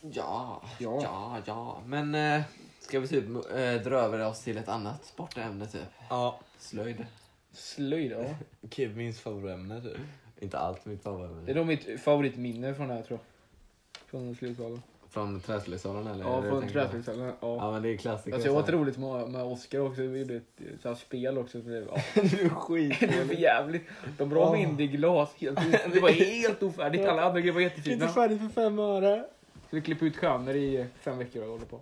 C: Ja,
B: Ja.
C: ja, ja. Men eh, ska vi typ eh, dra över oss till ett annat sportämne typ?
A: Ja,
C: Slöjd.
B: Slöjd, ja.
A: Kevins favoritämne typ.
C: Inte allt mitt
B: Det är
C: favoritminne.
B: nog mitt favoritminne från det här tror jag. Från slutsalen.
C: Från träslöjdsalen eller?
B: Ja,
C: Är det
B: från
C: tänker på?
B: träslöjdsalen.
C: Ja,
B: Ja.
C: men det är klassiker.
B: Alltså jag har haft roligt med, med Oscar också. Vi gjorde ett eh, så här, spel också. Så det, ja.
A: du är skit.
B: det är för jävligt. De la
A: Åh.
B: in det i glas. Helt, o- det var helt ofärdigt. Alla andra grejer var jättefina.
A: Inte
B: Så
A: färdig för fem öre.
B: vi klipper ut stjärnor i eh, fem veckor och håller på.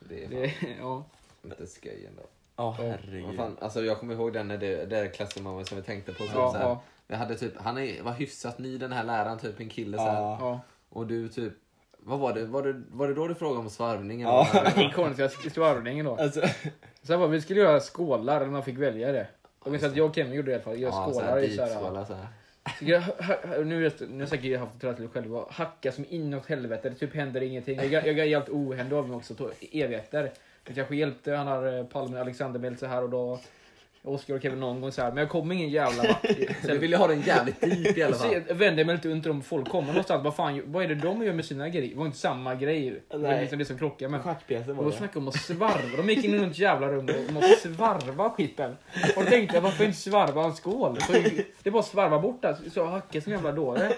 C: Det är fan
B: Det, ja.
C: inte skoj ändå.
A: Ja,
C: Vad
A: herregud.
C: fan, alltså jag kommer ihåg den när det, det är klassen man var- som vi tänkte på. Så
B: Ja,
C: så här,
B: ja.
C: Vi hade typ, han är, var hyfsat ny den här läraren, typ en kille. Så här,
A: Ja.
B: Ja.
C: Och du typ, vad var det? Var det, var det då du frågade om svarvning? eller
A: Ja.
C: vad det
B: Det är
C: var?
B: konstiga slarvningen då.
A: Alltså,
B: Sen var vi skulle göra skålar, eller man fick välja det. Jag minns att jag och Kevin gjorde det i alla fall. Göra
C: Ja, så
B: skålar
C: här,
B: i så här,
C: dipskålar så här.
B: Jag, ha- ha- nu vet nu har jag säkert haft träslöjd själva. Hacka som inåt helvete. Det typ händer ingenting. Jag, jag, jag är helt ohändig av mig också. Tog evigheter. Det kanske hjälpte. Han har eh, Palme Alexander med så här och då. Oskar och Kevin någon gång så här. Men jag kom ingen jävla vart.
C: Du
B: Sen
C: ville ha den jävligt deep i alla
B: så
C: fall.
B: jag vände mig lite runt om folk kommer någonstans. Vad fan, vad är det de gör med sina grejer? Det var inte samma grej. Det var
A: Nej.
B: liksom det som krockade. Men
A: schackpjäsen
B: och
A: var
B: då
A: det.
B: snackade de om att svarva. De gick in i något jävla rum och- om att svarva skiten. Och då tänkte jag varför inte svarva en skål? Så det är bara att svarva bort alltså. Så hacka som jävla dåre.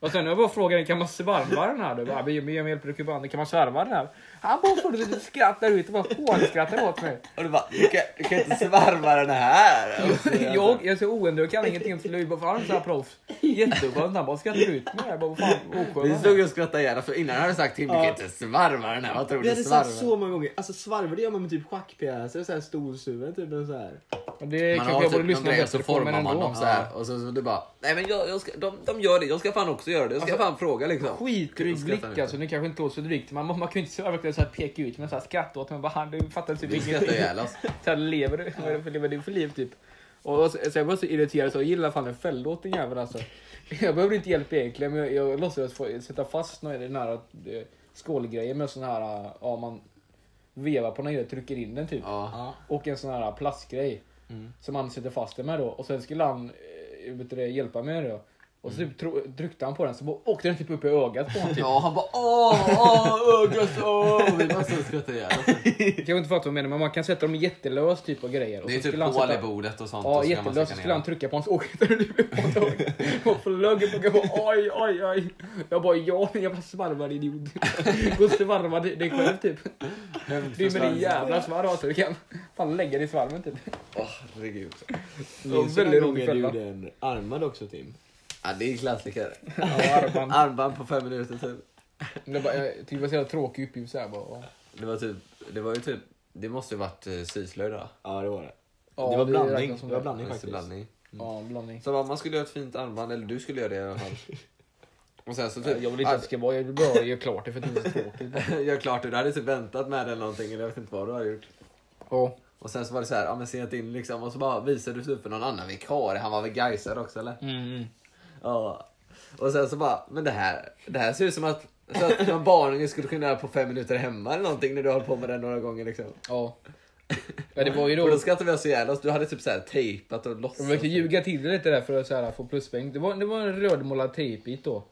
B: Och sen när jag bara frågade kan man svarva den här? Du bara, vi vi gör med hjälp av bandet, kan man svarva den här? Han bara får det skrattar ut och bara hånskrattar åt mig.
C: Och du bara, du kan, du kan inte svarva den här! Och så-
B: Jag, jag är så oändlig och kan ingenting om slöjd. Bara, fan, han är så här proffs. Jätteskönt. Han bara skrattar ut mig. Jag bara, vad fan oskön
C: Vi
B: han är.
C: stod och skrattade ihjäl för innan hade du sagt till mig, du kan inte svarva den här, vad tror
A: Vi
C: du
A: hade sagt
C: svarva?
A: så många gånger. Alltså svarvar det gör man med typ schackpjäser, såhär storsuven typ. En så här.
B: Men Det
C: Man
B: kanske jag
C: har typ
B: borde
C: någon
B: lyssna
C: grej och
B: bättre
C: så
B: på, men
C: formar man
B: ändå.
C: dem så här och så, så du bara, nej men jag, jag ska, de, de gör det, jag ska fan också göra det, jag ska fan fråga liksom.
B: Skitdryg Alltså,
C: Skrattar
B: blick
C: lite.
B: alltså, nu kanske inte låter så drygt. Man, man kan ju inte så här verkligen så här peka ut men så här skratta åt mig. Bara, han, du fattar typ
C: Vi skrattade
B: ingenting.
C: ihjäl oss.
B: Så här, lever du? Vad är det för, lever du för liv typ? Och så, så jag var så irriterad så jag gillade fan en fälla åt den jäveln alltså. Jag behövde inte hjälp egentligen men jag, jag låtsades få sätta fast några i den här eh, skålgrejen med sån här, eh, ja man vevar på någon grej och trycker in den typ.
C: Ja.
A: Ja.
B: Och en sån här plastgrej
C: Mm.
B: som han sätter fast den med då. Och sen skulle han eh, vet du, det, hjälpa mig med det då. Och så typ tro, tryckte han på den så bara åkte den typ upp i ögat på honom. Typ.
C: Mm. Ja, han bara åh, åh, ögat, åh. Vi bara så skrattade ihjäl oss.
B: Jag kan inte fatta vad jag menar men man kan sätta dem jättelöst typ och grejer. Och
C: Det är
B: så
C: typ
B: skulle han
C: hål
B: sätta-
C: i bordet och sånt.
B: Ja,
C: och så kan man
B: jättelöst. Så
C: sticka
B: skulle
C: ner
B: han trycka på hans åkare på tåget. Och flög upp och jag bara oj, oj, oj. Jag bara ja, din jävla svarvaridiot. Gå och svarva dig dig själv typ.
C: den.
B: Du är med din jävla svarv alltså. Du kan fan lägga dig i svarven typ.
C: Åh, herregud.
B: väldigt
A: Minns du den
B: rolig
A: gången du
B: fälla.
A: gjorde en armad också Tim?
C: Ja, det är en klassiker.
B: Ja, armband.
C: Armband på fem minuter typ.
B: Det var, jag tyckte det var så jävla tråkig uppgift så här bara.
C: Det var typ, det var ju typ, det måste ju varit eh, syslöjd då.
A: Ja det var det.
B: Ja,
A: det var
B: det
A: blandning.
B: räknas
A: Det
B: som
A: var
B: det.
A: blandning
C: Just det,
A: faktiskt.
C: blandning.
B: Ja, blandning.
C: Så man skulle göra ett fint armband, eller du skulle göra det i alla fall. Och sen så typ,
B: Jag vill inte att det ska vara, jag vill bara göra klart det för att det är så tråkigt.
C: Gör klart det, du hade typ väntat med det eller någonting, eller jag vet inte vad du har gjort.
B: Ja.
C: Och sen så var det så här, ja men sent in liksom, och så bara visade du typ för någon annan vikarie, han var väl Gaisare också eller?
B: Mm.
C: Ja. Och sen så bara, men det här, det här ser ut som att, så att någon barnunge skulle kunna göra på fem minuter hemma eller någonting när du höll på med det några gånger liksom.
B: Ja. Ja, det var ju
C: Och
B: då.
C: då skrattade vi oss ihjäl oss, du hade typ så här tejpat och
B: Jag
C: låtsats.
B: försökte ljuga till det lite där för att så här, få pluspoäng. Det var, det var en rödmålad tejpbit då.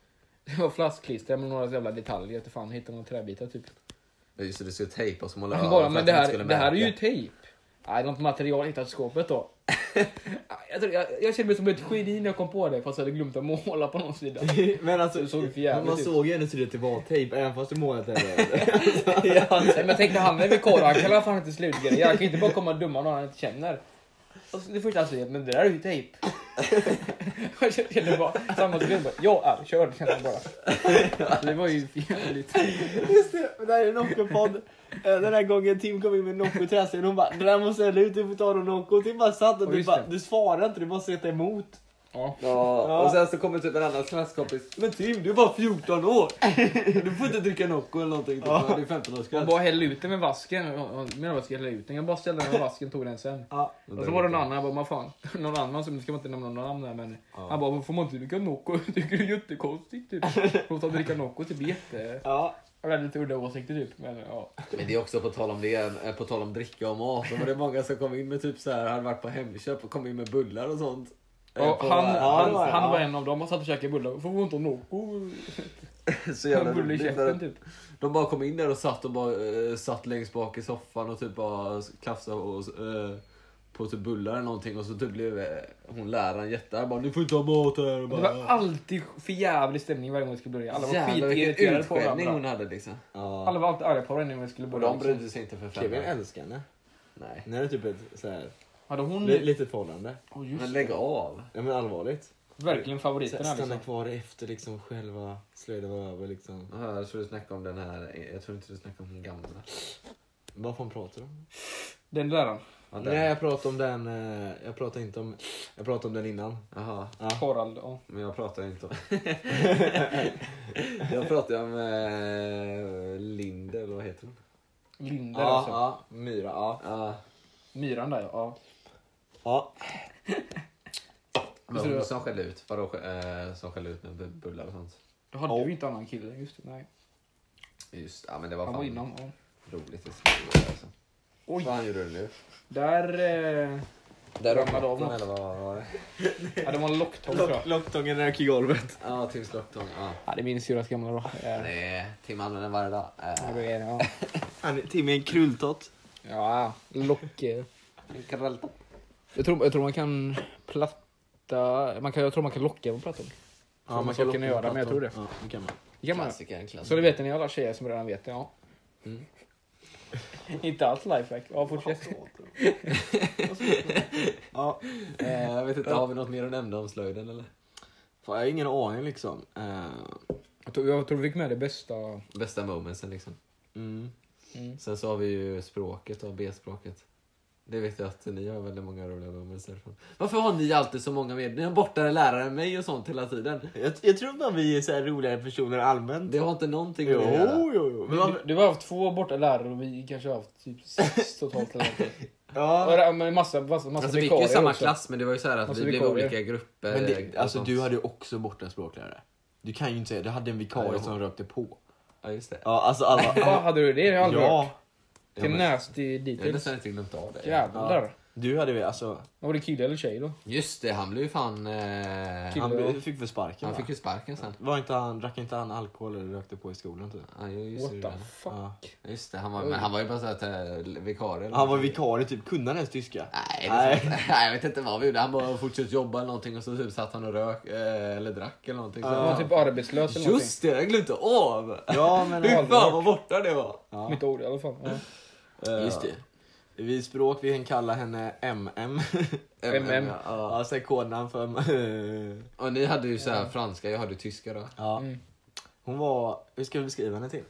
B: Det var flaskklister med några jävla detaljer. Jag vet inte fan, hittade några träbitar typ.
C: Ja, Just det, du skulle tejpa och så måla
B: Han
C: över
B: bara,
C: för
B: men
C: att
B: det
C: de inte
B: här,
C: skulle
B: det här är
C: märka."
B: ju tejp. Nej, något material hittat i skåpet då. jag, tror, jag, jag kände mig som ett geni när jag kom på det fast jag hade glömt att måla på någon sida.
A: Men
B: Det
A: alltså,
B: såg ju för
A: men
B: jävligt
A: man
B: ut.
A: såg ju ändå tydligt att det var tejp även fast du målat den. där.
B: Nej, men jag tänkte han är vikarie, han kallar fan inte slutgrejer. Jag kan inte bara komma och döma någon han inte känner. Och så, det första han säger, men det där är ju tejp. jag kände bara, samma sekund bara, jag är körd kände jag bara. Alltså, det var ju jävligt.
A: Just det, men det här är Nocco-podd. Eh, Den här gången Tim kom in med Nocco till och hon bara det där måste jag ut, du får ta någon Nocco. Och Tim bara satt och
B: Ja,
A: du
B: just
A: bara
B: det.
A: du svarar inte, du bara sätter emot.
B: Ja.
C: Ja,
A: Ja.
C: och sen så kommer typ en annan klasskompis.
A: Men Tim du är bara 14 år.
C: Du får inte dricka Nocco eller någonting. typ.
A: Ja.
C: Det är 15 års
B: Hon bara hällde ut den med vasken. Menar jag ska hälla ut den. Jag bara ställde den med vasken tog den sen.
A: Ja.
B: Och så var det någon annan, jag bara, "Men fan, någon annan som, nu ska man inte nämna några namn här men. Han bara, får man inte dricka Nocco? Jag Tycker det är jättekonstigt typ. Låta dricka Nocco typ, det är jätte...
A: Ja.
B: Jag hade lite udda åsikter typ. Men ja.
C: Men det är också på tal om det, eh, på tal om dricka och mat. Då var det många som kom in med typ så här, hade varit på Hemköp och kom in med bullar och sånt. Eh,
B: Ja,
C: på-
B: han,
A: det
B: han,
A: var det,
B: han
A: ja.
B: var en av dem. Han satt och käkade bullar. Får vi inte ha Nocco?
C: så jävla
B: Bulle i
C: roligt,
B: käften
C: för
B: typ.
C: De bara kom in där och satt och bara eh, satt längst bak i soffan och typ bara klafsade och, eh, på typ bullar eller någonting och så typ blev eh, hon läraren jättearg bara ni får inte ha mat här. Och
B: Det
C: bara,
B: var alltid för jävlig stämning varje gång vi skulle börja. Alla var
C: Jävlar vilken
B: skitirriterade på
C: utskällning hon
B: varandra.
C: hade liksom.
B: Alla var alltid arga på varandra när vi skulle
C: Och
B: börja.
C: de
B: Liksom.
C: brydde sig inte för fem
A: Kevin
C: öre.
A: älskar henne.
C: eh, Nej.
A: Ni hade typ ett så här,
B: Hade hon...
A: li, litet förhållande.
B: Åh,
C: Men
B: just,
C: lägg av.
A: Ja men allvarligt.
B: verkligen
A: Så här,
B: favoriterna
A: Stanna
B: liksom.
A: kvar efter liksom själva slöjden var över liksom.
C: Ja, Jag tror du snackade om den här, jag tror inte du snackade om den gamla.
A: Vad fan pratar du om?
B: Den där.
C: Ja, den.
A: Nej jag pratar om den, eh, jag pratar inte om, jag pratar om den innan.
C: Jaha,
B: Harald. Ja.
C: men jag pratar ju inte om... jag pratar ju om eh, Linde, eller vad heter hon?
B: Linder
A: Ja,
B: alltså.
A: ja, myra, ja.
C: Ja,
B: Myran där ja.
A: ja.
C: men hon som skällde ut. Vadå eh, som skällde ut med bu- bullar och sånt?
B: Då hade
A: Ja.
B: du inte annan kille. Just det, nej.
C: Just ja men det var
B: Han var
C: fan
B: inom. Ja.
C: roligt. i skolan, Alltså.
B: Oj.
C: Vad gjorde du nu?
B: Där... Eh,
C: Där
B: Ramlade
C: ramlade
B: av
C: av
B: något.
C: eller vad var det?
B: ja, det var en locktång tror jag.
A: Lock, locktången rök i golvet.
C: Ja, Tims locktång. Ja.
B: Ja, det minns Juras gamla då. Eh,
C: Nej, Tim använder den varje dag.
B: ja,
C: Eh,
B: det är det, Ja,
A: Han är Timmy är en krulltott.
B: ja lock... Eh.
C: krallt.
B: Jag tror, jag tror man kan platta... Man kan, jag tror man kan locka på plattan. Ja, man skulle kunna göra det, men jag tror det.
A: Ja, det kan man.
B: Det kan man.
C: Klassiker, en klassiker.
B: Så det vet ni alla tjejer som redan vet det, ja.
C: Mm.
B: Inte alls lifehack. Ja, fortsätt.
A: Ja,
C: Eh, jag vet inte, har vi något mer att nämna om slöjden eller?
A: fan, jag har ingen aning liksom. Eh,
B: Jag tror, jag tror vi fick med det bästa.
C: Bästa momentsen liksom.
A: mm.
B: Mm.
C: Sen så har vi ju språket och B-språket. Det vet jag att ni har väldigt många roliga moments därifrån. Varför har ni alltid så många med? Ni har bortare lärare än mig och sånt hela tiden.
A: jag, jag tror bara vi är så här roligare personer allmänt.
C: Det har inte någonting med
A: Jo,
C: det att göra.
A: jo, jo.
B: Du,
A: Men varför-
B: du har haft två borta lärare och vi kanske har haft typ sex totalt. Eller någonting.
A: ja.
B: Ja, men massa, massa, massa
C: Alltså, vi gick ju i
B: vikarier
C: samma
B: också.
C: klass men det var ju så här att
B: Alltså,
C: vi blev
B: vikarier.
C: olika grupper.
A: Men det,
C: och
A: alltså
C: sånt.
A: du hade ju också borta språklärare. Du kan ju inte säga, du hade en
C: Ja,
A: vikarie
C: jag-
A: som rökte på.
C: Ja just det.
A: Ja, alltså alla...
B: Ja, hade du det? Det har jag aldrig hört.
A: ja,
B: Till
C: men-
B: nasty
C: Jag har
B: details.
C: nästan inte glömt av det.
B: Jävlar.
A: du hade ju alltså...
B: Var det kille eller tjej då?
C: Just det, han blev ju fan... Eh,
B: Kille.
C: han,
A: Han blev, fick väl sparken
C: han
A: va?
C: fick ju sparken sen.
A: Var inte han, drack inte han alkohol eller rökte på i skolan typ?
C: Ja, ju- just,
B: What
C: det,
B: the
C: ja.
B: fuck?
A: Ja.
C: just det, han var, men han var ju bara eh, såhär vikarie. eller
A: Han var
C: någonting.
A: vikarie typ, kunde han ens tyska?
B: Äh.
C: Nej,
A: Nej.
C: det Nej. Nej, jag vet inte vad vi gjorde. Han bara fortsatte jobba eller någonting och så typ satt han och rök eh, eller drack eller någonting. Så
B: Han var typ arbetslös eller någonting.
C: Just det, jag glömde av!
A: Ja men...
C: Fy fan
B: aldrig hört.
C: vad borta det var!
B: Kommer inte ihåg det i alla fall. Ja.
A: eh,
C: Just det.
A: Vi språk, vi kan kalla henne MM.
B: MM.
A: ja, sen kodnamn för...
C: Och ni hade ju så här franska, jag hade tyska då.
A: ja.
B: Mm.
A: Hon var, hur ska vi beskriva henne till?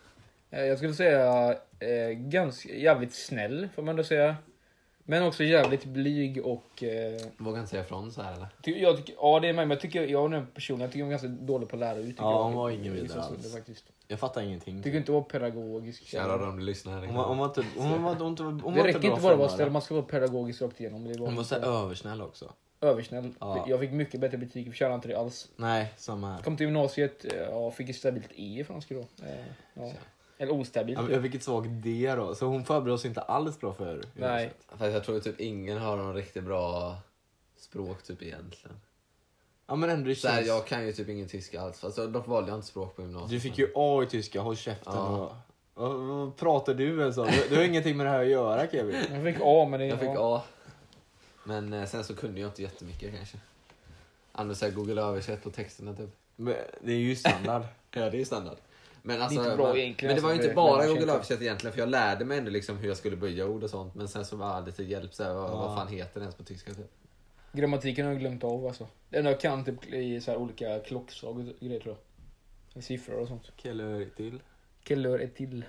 B: Eh, Jag skulle säga eh, ganska jävligt snäll får man ändå säga. Men också jävligt blyg och... Eh,
C: Vågar inte säga ifrån så här eller?
B: ty- jag tycker, ja det är mig, men jag tycker, jag är en person, jag tycker hon är ganska dålig på att lära ut. tycker
A: Ja,
B: jag.
A: hon var ingen
B: Vissa
A: vidare
B: stunder
A: alls.
B: faktiskt.
A: Jag fattar ingenting.
B: Tycker inte vara pedagogisk.
C: Kära de lyssnare.
A: Hon var, hon var inte, hon var, hon var, hon var
B: det räcker inte
A: bra
B: bara att vara
A: förmögen.
B: snäll, man ska vara pedagogisk rakt igenom. Det var
A: Hon var så här översnäll också.
B: översnäll.
A: Ja.
B: Jag fick mycket bättre betyg, förtjänade inte det alls.
A: Nej, samma här.
B: Kom till gymnasiet, eh, ja, fick ett stabilt E i franska då. Eh, Ja. Eller ostabilt.
A: Ja, men Jag fick ett svagt D då, så hon förberedde oss inte alls bra för
B: Nej.
C: Fast jag tror typ ingen har någon riktigt bra språk typ egentligen.
A: Ja men ändå det
C: Så här,
A: känns...
C: jag kan ju typ ingen tyska alls. Fast jag- dock valde jag inte språk på gymnasiet.
A: Du fick ju A i tyska, håll käften
C: Ja.
A: och... Vad, vad pratar du ens om? Du, du har ingenting med det här att göra Kevin.
B: Jag fick A men det...
C: Jag fick
B: ja.
C: A. Men eh, sen så kunde jag inte jättemycket kanske. Använde såhär Google översätt på texterna typ.
A: Men det är ju standard.
C: Ja, det är standard. Men,
B: är
C: alltså,
B: inte bra
C: man,
B: egentligen,
C: men det var ju
B: alltså,
C: inte
B: men- men
C: bara
B: man
C: Google
B: känner-
C: översätt egentligen för jag lärde mig ändå liksom hur jag skulle böja ord och sånt. Men sen så var det till hjälp såhär, vad, vad fan heter det ens på tyska typ?
B: Grammatiken har jag glömt av alltså. Det enda jag kan typ i så här olika klockslag och grejer tror jag. I siffror och sånt.
A: Kelle till.
B: Kellör är till.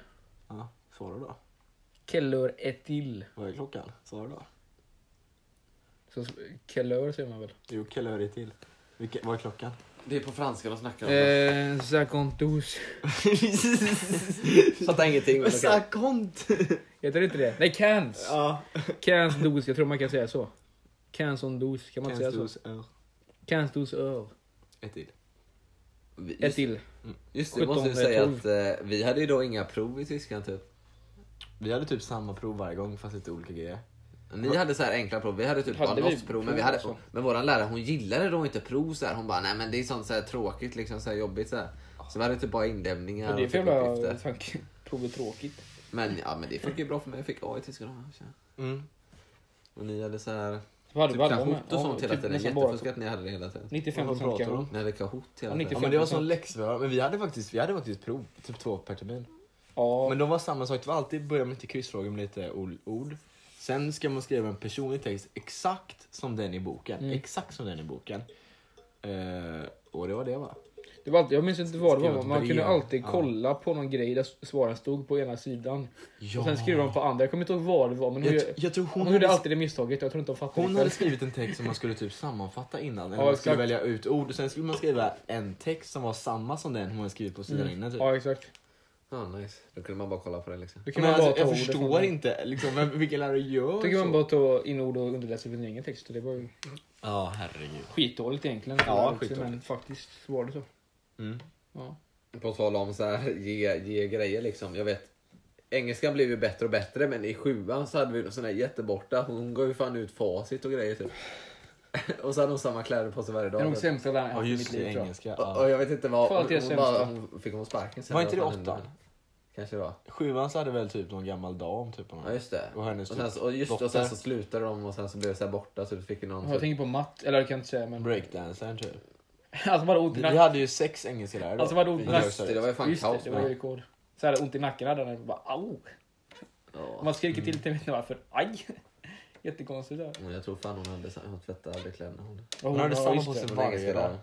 A: Ja, svarar då.
B: Kellör är till.
A: Vad är klockan? Svarar då.
B: Så kellör säger man väl?
A: Jo, Kelle till. Vilke, vad är klockan?
C: Det är på franska de snackar om det.
B: Eh, Zakontos.
C: Fattar ingenting. Men okay.
A: Sakont!
B: Heter det inte det? Nej, cans!
A: Ja.
B: Cans dos, jag tror man kan säga så. Cans on dos, kan man inte säga så?
A: Kenstos ör.
B: Cans dos öl.
A: Ett till.
B: Ett
C: Just,
B: till.
C: just det, vi måste ju
B: 17,
C: säga
B: 12.
C: att eh, vi hade ju då inga prov i tyskan typ.
A: Vi hade typ samma prov varje gång fast lite olika grejer.
C: Ni hade så här enkla prov, vi hade typ
B: Hade
C: bara
B: vi
C: lossprov. Men,
B: prov
C: vi hade,
B: också?
C: men våran lärare hon gillade då inte prov så här. Hon bara, nej men det är sånt så här tråkigt liksom, så här jobbigt så här. Så vi hade typ bara indämningar
B: Och det är
C: och
B: för
C: typ
B: jävla
C: uppgifter.
B: tanke. Provet tråkigt.
C: Men ja, men det funkar ju bra för mig. Jag fick A i tyska då. tja.
A: Mm.
C: Och ni hade så här
B: Vad
C: typ
B: hade alla
C: Kahoot
B: med?
C: och
B: Ja,
C: sånt hela
B: typ
C: tiden.
B: nästan bara
C: Jättefusk att ni hade det hela tiden.
B: 95
A: Vad pratar
B: procent
A: du
B: kanske.
A: om?
C: Ni hade Kahoot hela
B: Ja,
A: Ja,
C: tiden.
B: 95.
A: men det var som läxor. Men vi hade faktiskt, vi hade faktiskt prov, typ två per termin.
B: Ja,
A: Men de var samma sak, det var alltid börja med lite kryssfrågor med lite ol- ord. Sen ska man skriva en personlig text exakt som den i boken.
B: Mm.
A: Exakt som den i boken. Eh, och det var det va?
B: Det var alltid, jag minns inte vad det
A: Skriva
B: var,
A: ett
B: men man
A: brev.
B: kunde alltid
A: Ja.
B: kolla på någon grej där s- svaren stod på ena sidan.
A: Ja.
B: Och sen skrev de på andra. Jag kommer inte ihåg vad det var, men hon,
A: Jag,
B: gör-
A: jag tror
B: hon,
A: hon, hade,
B: gjorde
A: sk-
B: alltid det misstaget. Jag tror inte hon fattade
A: hon
B: det
A: hade
B: själv.
A: skrivit en text som man skulle typ sammanfatta innan. Eller
B: Ja,
A: man skulle
B: exakt.
A: välja ut ord och sen skulle man skriva en text som var samma som den hon hade skrivit på sidan innan. Typ.
B: Mm. Ja, exakt.
C: Ja, nice. Då kunde man bara kolla på det liksom.
B: Då kan
A: Men
B: man bara
A: alltså,
B: ta
A: jag
B: ord
A: förstår
B: från-
A: inte liksom, vem, vilken lärare gör
B: Då kan man
A: så?
B: bara ta in ord och underläsa sin egen text. Och det var ju
A: Ja, herregud.
B: skitdåligt egentligen.
A: Ja,
B: Också,
A: skitdåligt.
B: Men faktiskt var det så.
A: Mm.
B: Ja.
C: På tal om så här, ge, ge grejer liksom. Jag vet, engelskan blev ju bättre och bättre men i sjuan så hade vi en sån här jätteborta. Hon gav ju fan ut facit och grejer typ. och så hade hon samma kläder på sig varje
B: Det är
C: dag.
B: de
C: typ.
B: sämsta lärarna jag
A: Ja,
B: haft i mitt
A: just det,
B: liv tror jag.
A: engelska.
C: Och, och
A: Ja.
C: jag vet inte vad...
B: Fan, det är
C: hon, bara,
B: sämsta.
C: hon, fick hon sparken sen?
A: Var inte det
C: Vad fan hände
A: åttan?
C: med henne? Kanske det var.
A: Sjuan så hade väl typ någon gammal dam typ. på någon-
C: Ja just det.
A: Och
C: Och,
A: hennes
C: sen, så- och, just, och sen
A: dotter.
C: så slutade de och sen så blev det så här borta så du fick ju någon... typ-
B: Jag tänker på matt, eller jag kan inte säga men...
A: Breakdancern typ.
B: Alltså bara ont i
A: Vi,
B: nacken.
A: vi hade ju sex engelsklärare då.
B: Alltså, vadå,
A: i
B: nack-
A: högstadiet.
C: Just det, det var ju fan
B: Just det,
C: kaos.
B: det var ju rekord. Så här ont i nacken hade han. Bara au. Man skriker till till vet inte varför. Aj! Jättekonstigt. där.
C: Men jag tror fan hon hade hon tvättade alla kläderna. Hon,
A: Hon hade
B: Ja,
A: samma
B: just
A: på
B: det.
A: sig
C: hon
A: varje
C: hängde
A: dag.
C: där.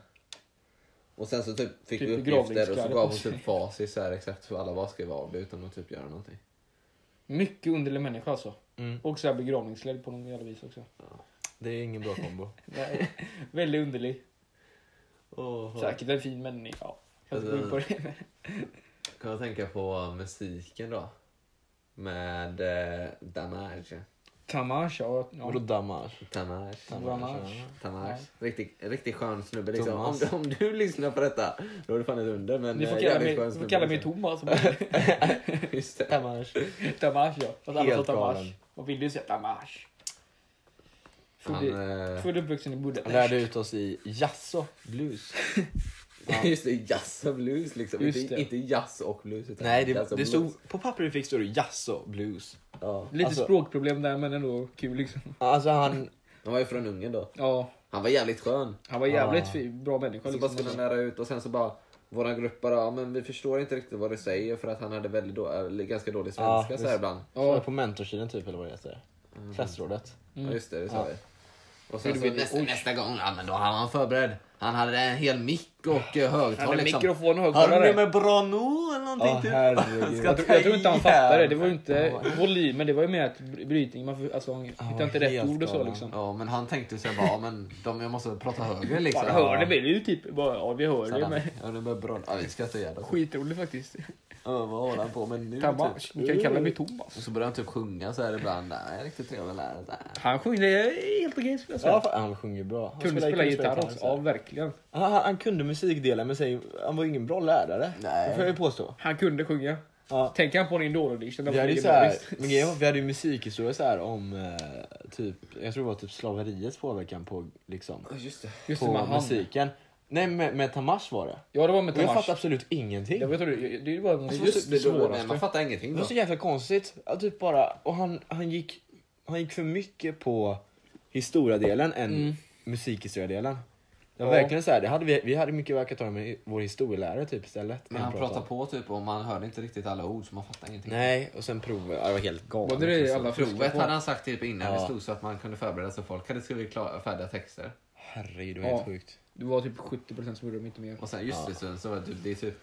C: Och sen så typ fick
B: Typ
C: vi uppgifter och så
B: begravningskläder
C: gav
B: på
C: hon
B: sig.
C: typ facit så här exakt hur alla var ska vara utan att typ göra någonting.
B: Mycket underlig människa alltså.
A: Mm.
B: Och så här begravningsklädd på någon jävla vis också.
A: Det är ingen bra kombo.
B: Nej, väldigt underlig.
C: Oh,
B: Säkert en fin människa. Ja. Jag ska gå in på det.
C: Kan jag tänka på musiken då? Med eh, Damage.
B: Tamage, ja.
A: Vadå
B: ja.
A: damage?
C: Damage.
B: Tamage.
C: Damage.
B: Ja.
C: Riktigt, riktigt skön snubbe liksom. Om,
A: Thomas.
C: om du lyssnar på detta, då är du fan ett under. Men
B: Ni får
C: eh,
B: kalla
C: jävligt
B: mig,
C: skön
B: ni får
C: snubbe,
B: kalla mig
C: liksom.
B: Thomas.
C: Just det.
A: Damage.
B: Tamage, ja. Fast alla sa
A: Helt
B: Tamage.
A: galen.
B: Och ville ju säga Tamage.
C: Han,
B: Född
C: eh,
B: född och uppvuxen i
A: Han
B: Budapest.
A: lärde ut oss i jazzå, blues.
C: Just det, jazz och blues liksom.
B: Just
C: Inte,
B: det.
C: inte jazz och blues. Utan
A: Nej, det,
C: jazz och
A: det
C: blues.
A: stod, på papper vi fick stod det jazzå, blues.
C: Ja.
B: Lite
A: Alltså-
B: språkproblem där men ändå kul liksom.
A: Alltså han,
C: Han var ju från Ungern då.
B: Ja,
C: Han var jävligt skön.
B: han var jävligt
A: Ah.
B: fi- bra människa.
C: Så bara
B: Liksom.
C: skulle han lära ut och sen så bara våran grupp bara, ja, men vi förstår inte riktigt vad du säger för att han hade väldigt då, eller ganska dålig
A: Ja,
C: svenska så här
A: visst.
C: ibland.
A: ja. på mentorsidan typ eller vad det heter. Klassrådet.
C: Mm. Ja just det, det sa
A: Ja.
C: vi. Och sen
B: Mm. Gjorde
C: så
B: vi det.
C: nästa,
B: Oj.
C: nästa gång, ja men då hade han förberedd. Han hade en hel mick och eh,
B: Han
C: högtalare
B: hade
C: liksom.
B: mikrofon och
C: Hörde
B: högtalare.
C: ni med bra nu eller någonting
A: Ja,
C: typ?
A: herregud.
B: Jag, tror- jag tror inte han fattade det. Det var ju inte
A: Ja.
B: volymen, det var ju mer att bry- brytning. Man får, alltså, han hittade inte rätt
A: helt
B: ord och så
A: galen.
B: liksom.
C: Ja men han tänkte sig bara, ja, men de, jag måste prata högre liksom.
B: Man hör det väl ju typ. Bara, ja, vi hör
C: Så hade
B: det.
C: han-
B: Men
C: Ja, det var bra. Ja, vi skrattar ihjäl oss.
B: skitroligt faktiskt.
C: Ja, Vad håller han på med nu?
B: Tamage.
C: typ?
B: Ni kan kalla mig Thomas.
C: Och så börjar han typ sjunga så här ibland. Nej, riktigt trevlig lärare. så här.
B: Han sjunger det är helt okej skulle jag
A: Ja,
B: säga.
A: fan, han sjunger bra. Han
B: Kunde
A: spelar-
B: spela
A: kunde spela
B: gitarr också.
A: så
B: Ja,
A: här.
B: verkligen.
A: Han, han, han kunde musikdelen men sig, han var ingen bra lärare.
C: Nej.
A: Det får jag ju påstå.
B: Han kunde sjunga.
A: Ja.
B: Tänk han på en Idol-audition.
A: Vi hade, ju så här, men grejen var, vi hade ju musikhistoria så här om eh, typ, jag tror det var typ slaveriets påverkan på, liksom,
C: Ja, Just det.
B: Just det,
A: på
B: med han.
A: musiken. Nej, med, med Tamash var det.
B: Ja, det var med
A: Och jag fattade
B: Tamage.
A: absolut ingenting.
B: Jag vet inte, det- det var något
C: Alltså, Just, det, då- typ nej, man
B: svåraste.
C: fattar ingenting
A: Det
C: då.
A: var så jävla konstigt. Ja, typ bara, och han, han, gick, han gick för mycket på historiadelen än
B: Mm.
A: musikhistoriadelen. Det var
B: Ja.
A: verkligen så här, det hade vi, vi hade mycket verkat ta med vår historielärare typ istället.
C: Men han pratar på typ och man hörde inte riktigt alla ord så man fattar ingenting.
A: Nej, och sen prover. Ja, det var helt galet.
B: Var det det alla fuskade
C: Provet
B: på?
C: hade han sagt typ innan det
A: Ja.
C: stod så att man kunde förbereda sig. Folk hade skrivit klara, färdiga texter.
A: Herregud, det var helt
B: Ja.
A: sjukt.
B: Det var typ 70% som gjorde det, inte mer.
C: Och sen just
A: Ja.
C: det, sen så var det typ, det är typ...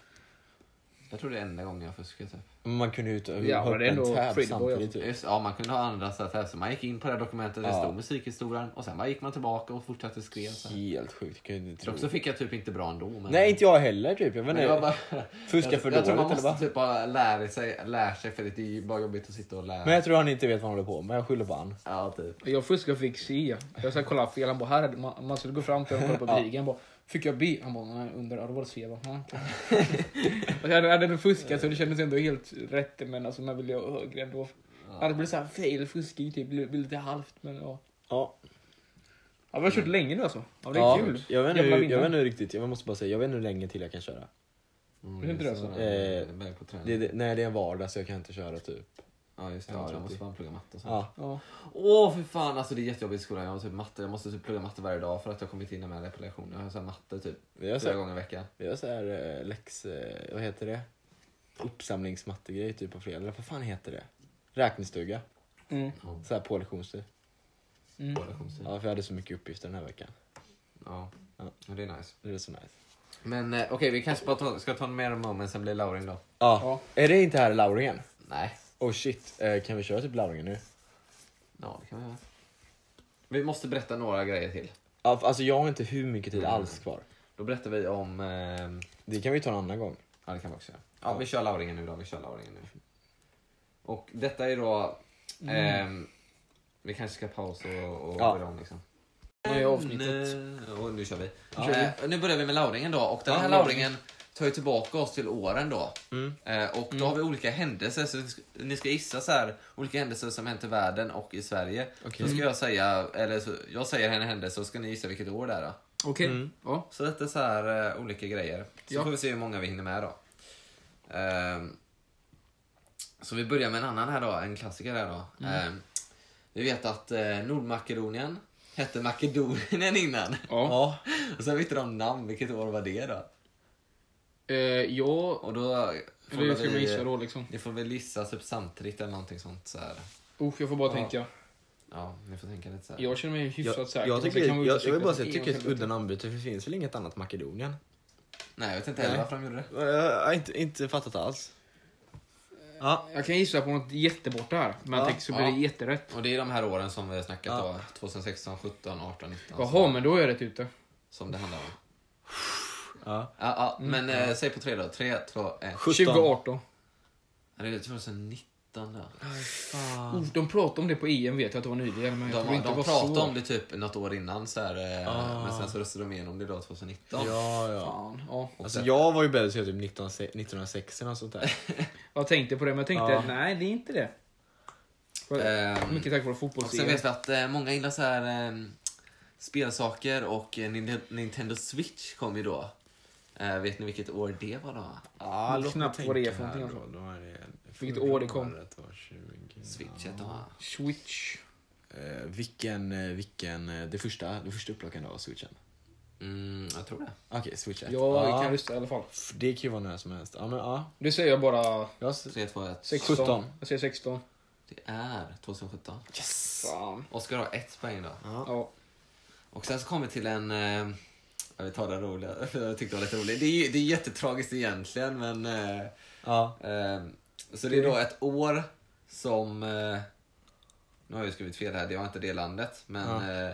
C: Jag tror det är enda gången jag fuskade typ.
A: Men Man kunde ju ut och
B: Ja,
A: ha
B: men det är
A: en
B: ändå alltså.
A: tab
B: Freedom Boy,
A: samtidigt. Typ.
C: Just, ja, man kunde ha andra så här, så man gick in på det här dokumentet, det
A: Ja.
C: stod musikhistorien och sen bara gick man tillbaka och fortsatte skriva. Så här.
A: Helt sjukt, kan jag inte tro.
C: Och så fick jag typ inte bra ändå. Men...
A: Nej, inte jag heller typ. Jag vet
C: Men det var
A: inte.
C: bara...
A: Fuska
C: jag,
A: för
C: jag tror man
A: dåligt, eller
C: måste
A: vad?
C: typ bara lära sig, lära sig för det är ju bara jobbigt att sitta och lära.
A: Men jag tror han inte vet vad han håller på med. Jag skyller på han.
C: Ja, typ.
B: Jag fuskade och fick C. Jag ska kolla fel. Han bara, här är det. Man, man skulle gå fram till honom och kolla på betygen. Han bara, fick jag B? Han bara, nej, under. Ja, då var det C. Jag bara, "Mm." Och jag hade- hade ändå fuskat så det kändes ändå helt rätt. Men alltså, man ville ju ha högre ändå. Annars blir det såhär fail fuskig typ. Blir, blir lite halvt. Men ja.
A: Ja,
B: ja vi har kört länge nu alltså. Ja, det är
A: Mm. ja,
B: kul.
A: Jag vet,
B: Jävla
A: inte, hur- jag
B: minnen.
A: vet inte riktigt. Jag måste bara säga, jag vet inte hur länge till jag kan köra.
B: Är inte det så?
A: Mm, Eh,
C: Väg på träning.
A: Det, det, nej, det är en vardag så jag kan inte köra typ.
C: Ja, just det.
A: Ja,
C: jag tror jag
A: det-
C: måste fan plugga matte och sånt.
A: Ja.
B: Ja.
C: Åh, för fan. Alltså, det är jättejobbigt i skolan. Jag har typ matte. Jag måste typ plugga matte varje dag för att jag kommit in med det på lektioner. Jag har så här matte typ
A: Vi har så
C: fyra
A: här,
C: gånger i veckan.
A: vi har så här eh, läx... eh, Vad heter det? Uppsamlingsmattegrej typ på fredag. Vad fan heter det? Räknestuga.
B: Mm.
A: Så här på lektionstid.
B: Mm.
C: På lektionstid.
A: Ja, för jag hade så mycket uppgifter den här veckan.
C: Ja.
A: Ja.
C: ja, det är nice.
A: Det är så nice.
C: Men eh, okej, vi kanske bara ta, ska ta mer om moments, sen blir Laurin då.
A: Ja. Är det inte här i Lauringen?
C: Nej,
A: Oh shit. Eh, kan vi köra typ Lauringen nu?
C: ja, det kan vi göra. Vi måste berätta några grejer till.
A: Ja, Alltså jag har inte hur mycket tid alls kvar.
C: Då berättar vi om... Eh,
A: Det kan vi ta en annan gång.
C: Ja, det kan vi också göra. Ja, vi kör Lauringen nu då. Vi kör Lauringen nu. Och detta är då... ehm, vi kanske ska pausa och, och
A: Mm. Ja.
C: börja om liksom.
B: Nu är avsnittet.
C: Eh, Och nu kör vi.
A: Nu kör vi.
C: Eh, nu börjar vi med Lauringen då. Och den
B: Ja,
C: här
B: Lauringen.
C: Lauringen tar ju tillbaka oss till åren då.
A: Mm.
C: Eh, och då har vi olika händelser. Så ni ska- ni ska gissa så här, olika händelser som hänt i världen och i Sverige.
A: Okej. Mm.
C: Så ska jag säga, eller så, jag säger en händelse så ska ni gissa vilket år det är då.
B: Okej.
A: Mm.
B: Ja.
C: Så detta är så här eh, olika grejer. Så
B: Ja.
C: får vi se hur många vi hinner med då. Ehm, så vi börjar med en annan här då, en klassiker här då.
B: Mm.
C: Ehm, vi vet att eh, Nordmakedonien hette Makedonien innan.
B: Ja.
A: Ja.
C: Och sen bytte de namn, vilket år var det då?
B: Eh, ja,
C: Och då... får
B: det ska man
C: vi-
B: gissa då liksom.
C: Ni får väl gissa typ samtidigt eller någonting sånt så här.
B: Usch, jag får bara
C: Ja.
B: tänka.
C: Ja, ni får tänka lite så här.
B: Jag känner mig hyfsat
A: Jag,
B: säker.
A: jag,
B: men det
A: tycker,
B: kan
A: jag,
B: vara
A: jag
B: ute och
A: vill bara
B: cykla.
A: säga, jag tycker
B: Ingen
A: ett
B: kan
A: udda namnbyte, för det finns väl inget annat Makedonien?
C: Nej, jag vet inte heller
A: Nej.
C: varför de gjorde det.
A: Jag har inte, inte fattat alls. Ja,
B: veta. Jag kan gissa på något jätteborta här, men
A: Ja,
B: tänk så blir det
C: ja.
B: jätterätt.
C: Och det är de här åren som vi har snackat
A: Ja.
C: då. 2016, 17, 18, 19.
B: Jaha,
C: som-
B: men då är jag rätt ute.
C: Som det handlar om.
A: ja.
C: Ja, ja,
B: Mm,
C: men eh, säg på tre då. Tre, två, ett.
A: 17.
B: 2018.
C: Ja, Det är typ 2019 då.
B: Oh, de pratade om det på EM vet jag att det var nyligen, men jag
C: De,
B: tror
C: de
B: inte det var
C: pratade
B: så.
C: om det typ något år innan så här, eh,
A: Ah.
C: men sen så röstade de igenom det då 2019.
A: Ja, ja.
B: Fan, ja.
C: Och
A: Alltså,
C: sen-
A: jag var ju beredd att säga typ 19, 1960 eller något sånt där.
B: Jag tänkte på det, men jag tänkte
A: Ja.
B: nej, det är inte det. För-
C: Ehm,
B: Mycket tack vare
C: och sen vet
B: fotbolls
C: vi att eh, många gillar så här eh, spelsaker och eh, Nin- Nintendo Switch kom ju då. Eh, vet ni vilket år det var då?
A: Ja,
B: låt mig Knappt vad det är för tänka någonting, här Vilket år det kom.
C: Switch hette ja.
B: Switch.
A: Eh, vilken, eh, vilken, eh, det första, det första upplagan då av switchen?
C: mm, Jag tror det.
A: Okej, switch 1.
B: Ja, vi kan rösta i alla fall.
A: F- Det kan ju vara när som helst. Ja, men ja.
B: Nu säger jag bara
A: Jag... s-
C: 3, 2, 1.
B: 16.
A: 17.
B: Jag säger 16.
C: Det är 2017.
A: Yes!
B: Fan.
C: Oskar har ett poäng då.
B: Ja.
C: Och sen så kommer vi till en... Eh, jag vill ta den roliga, för jag tyckte det var lite rolig. Det är, ju- det är jättetragiskt egentligen men... Eh,
A: Ja.
C: eh, så det är då ett år som... Eh, nu har jag ju skrivit fel här, det var inte det landet. Men, eh,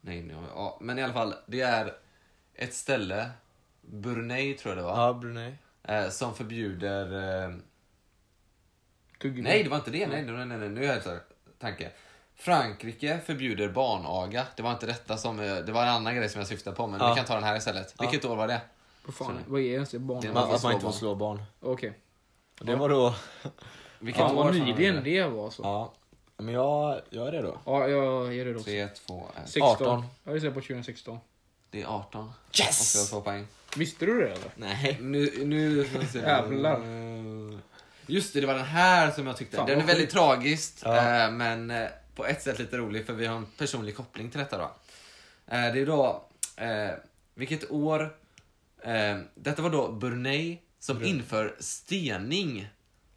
C: nej, nu, har jag- ja, men i alla fall, det är ett ställe, Brunei tror jag det var,
A: Ja, Brunei.
C: eh, som förbjuder... Eh,
B: Tuggummi.
C: Nej, det var inte det. Nej, nej, nej, nej. nu är jag så tanke. Frankrike förbjuder barnaga. Det var inte detta som, eh, det var en annan grej som jag syftade på, men
A: Ja.
C: vi kan ta den här istället. Vilket år var det?
B: Vad fan, vad är ens det?
C: Det
B: Barn?
C: var-
A: Man, att man
C: slå
A: inte får
C: barn.
A: slå barn.
B: Okej.
A: Det var då...
C: Vilket
B: Fan vad
C: fan var
B: nyligen
C: det?
B: det var alltså.
A: Ja. Men jag, jag är redo.
B: Ja, jag ger det då.
C: 3, 2, 1.
B: 16.
A: 18.
B: Jag gissar på 2016.
C: Det är 18. Och jag
A: Yes!
C: två poäng.
B: Visste du det eller?
A: Nej. Eh,
C: Nu, nu...
B: Jävlar.
C: Just det, det var den här som jag tyckte.
B: Fan,
C: den är
B: vad
C: väldigt tragiskt,
A: Ja.
C: eh, men eh, på ett sätt lite rolig för vi har en personlig koppling till detta då. Eh, det är då, eh, vilket år, eh, detta var då Brunei som inför stening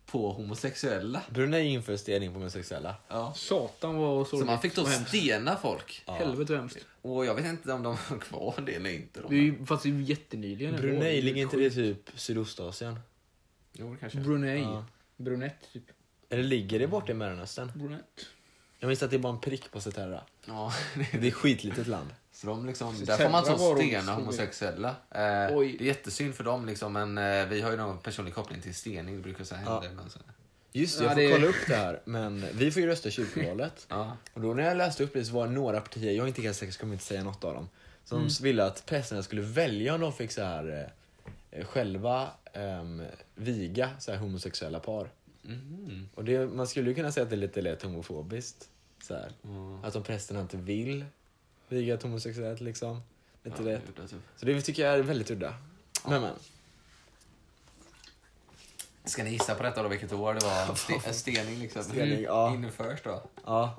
C: på homosexuella.
A: Brunei inför stening på homosexuella.
B: Satan vad
C: Så
B: sorgligt.
C: man fick då
B: och hemskt.
C: stena folk.
B: Helvete vad hemskt.
C: Och jag vet inte om de har kvar det eller inte.
B: Det är
C: De.
B: ju, fast det är ju jättenyligen. ändå. Det är
A: Brunei,
B: ju
A: ligger inte
B: sjukt.
A: det i typ Sydostasien?
C: Jo, det kanske.
B: Brunei.
A: Ja.
B: Brunett typ.
A: Eller ligger det borta i Mellanöstern?
B: Brunett.
A: Jag minns att det är bara en prick på Zeterra.
C: Ja,
A: Det är ett skitlitet land.
C: Så de liksom,
B: Så
C: där får man
B: Tellra
C: så
B: var de
C: stena
B: stora.
C: homosexuella. Eh,
B: Oj.
C: det är jättesynd för dem, liksom, men eh, vi har ju någon personlig koppling till stening. Det brukar så här hända. Men så,
A: Just det, jag
B: Ja,
A: får
B: det-
A: kolla upp det här. Men vi får ju rösta i kyrkovalet.
C: ja.
A: Och då när jag läste upp det så var det några partier, jag är inte helt säker, så kommer jag inte säga något av dem. Som
C: Mm.
A: ville att prästerna skulle välja om de fick så här eh, själva ehm, viga så här homosexuella par.
C: Mhm.
A: Och det, man skulle ju kunna säga att det är lite lätt homofobiskt. Så här.
C: Mm.
A: Att om prästerna inte vill viga ett homosexuellt liksom. Lite lätt.
C: Ja, det, typ.
A: Så det tycker jag är väldigt udda. Men men.
C: Ska ni gissa på detta då, vilket år det var? Ste- stening liksom.
A: Stening, ja.
C: Införs då.
A: Ja.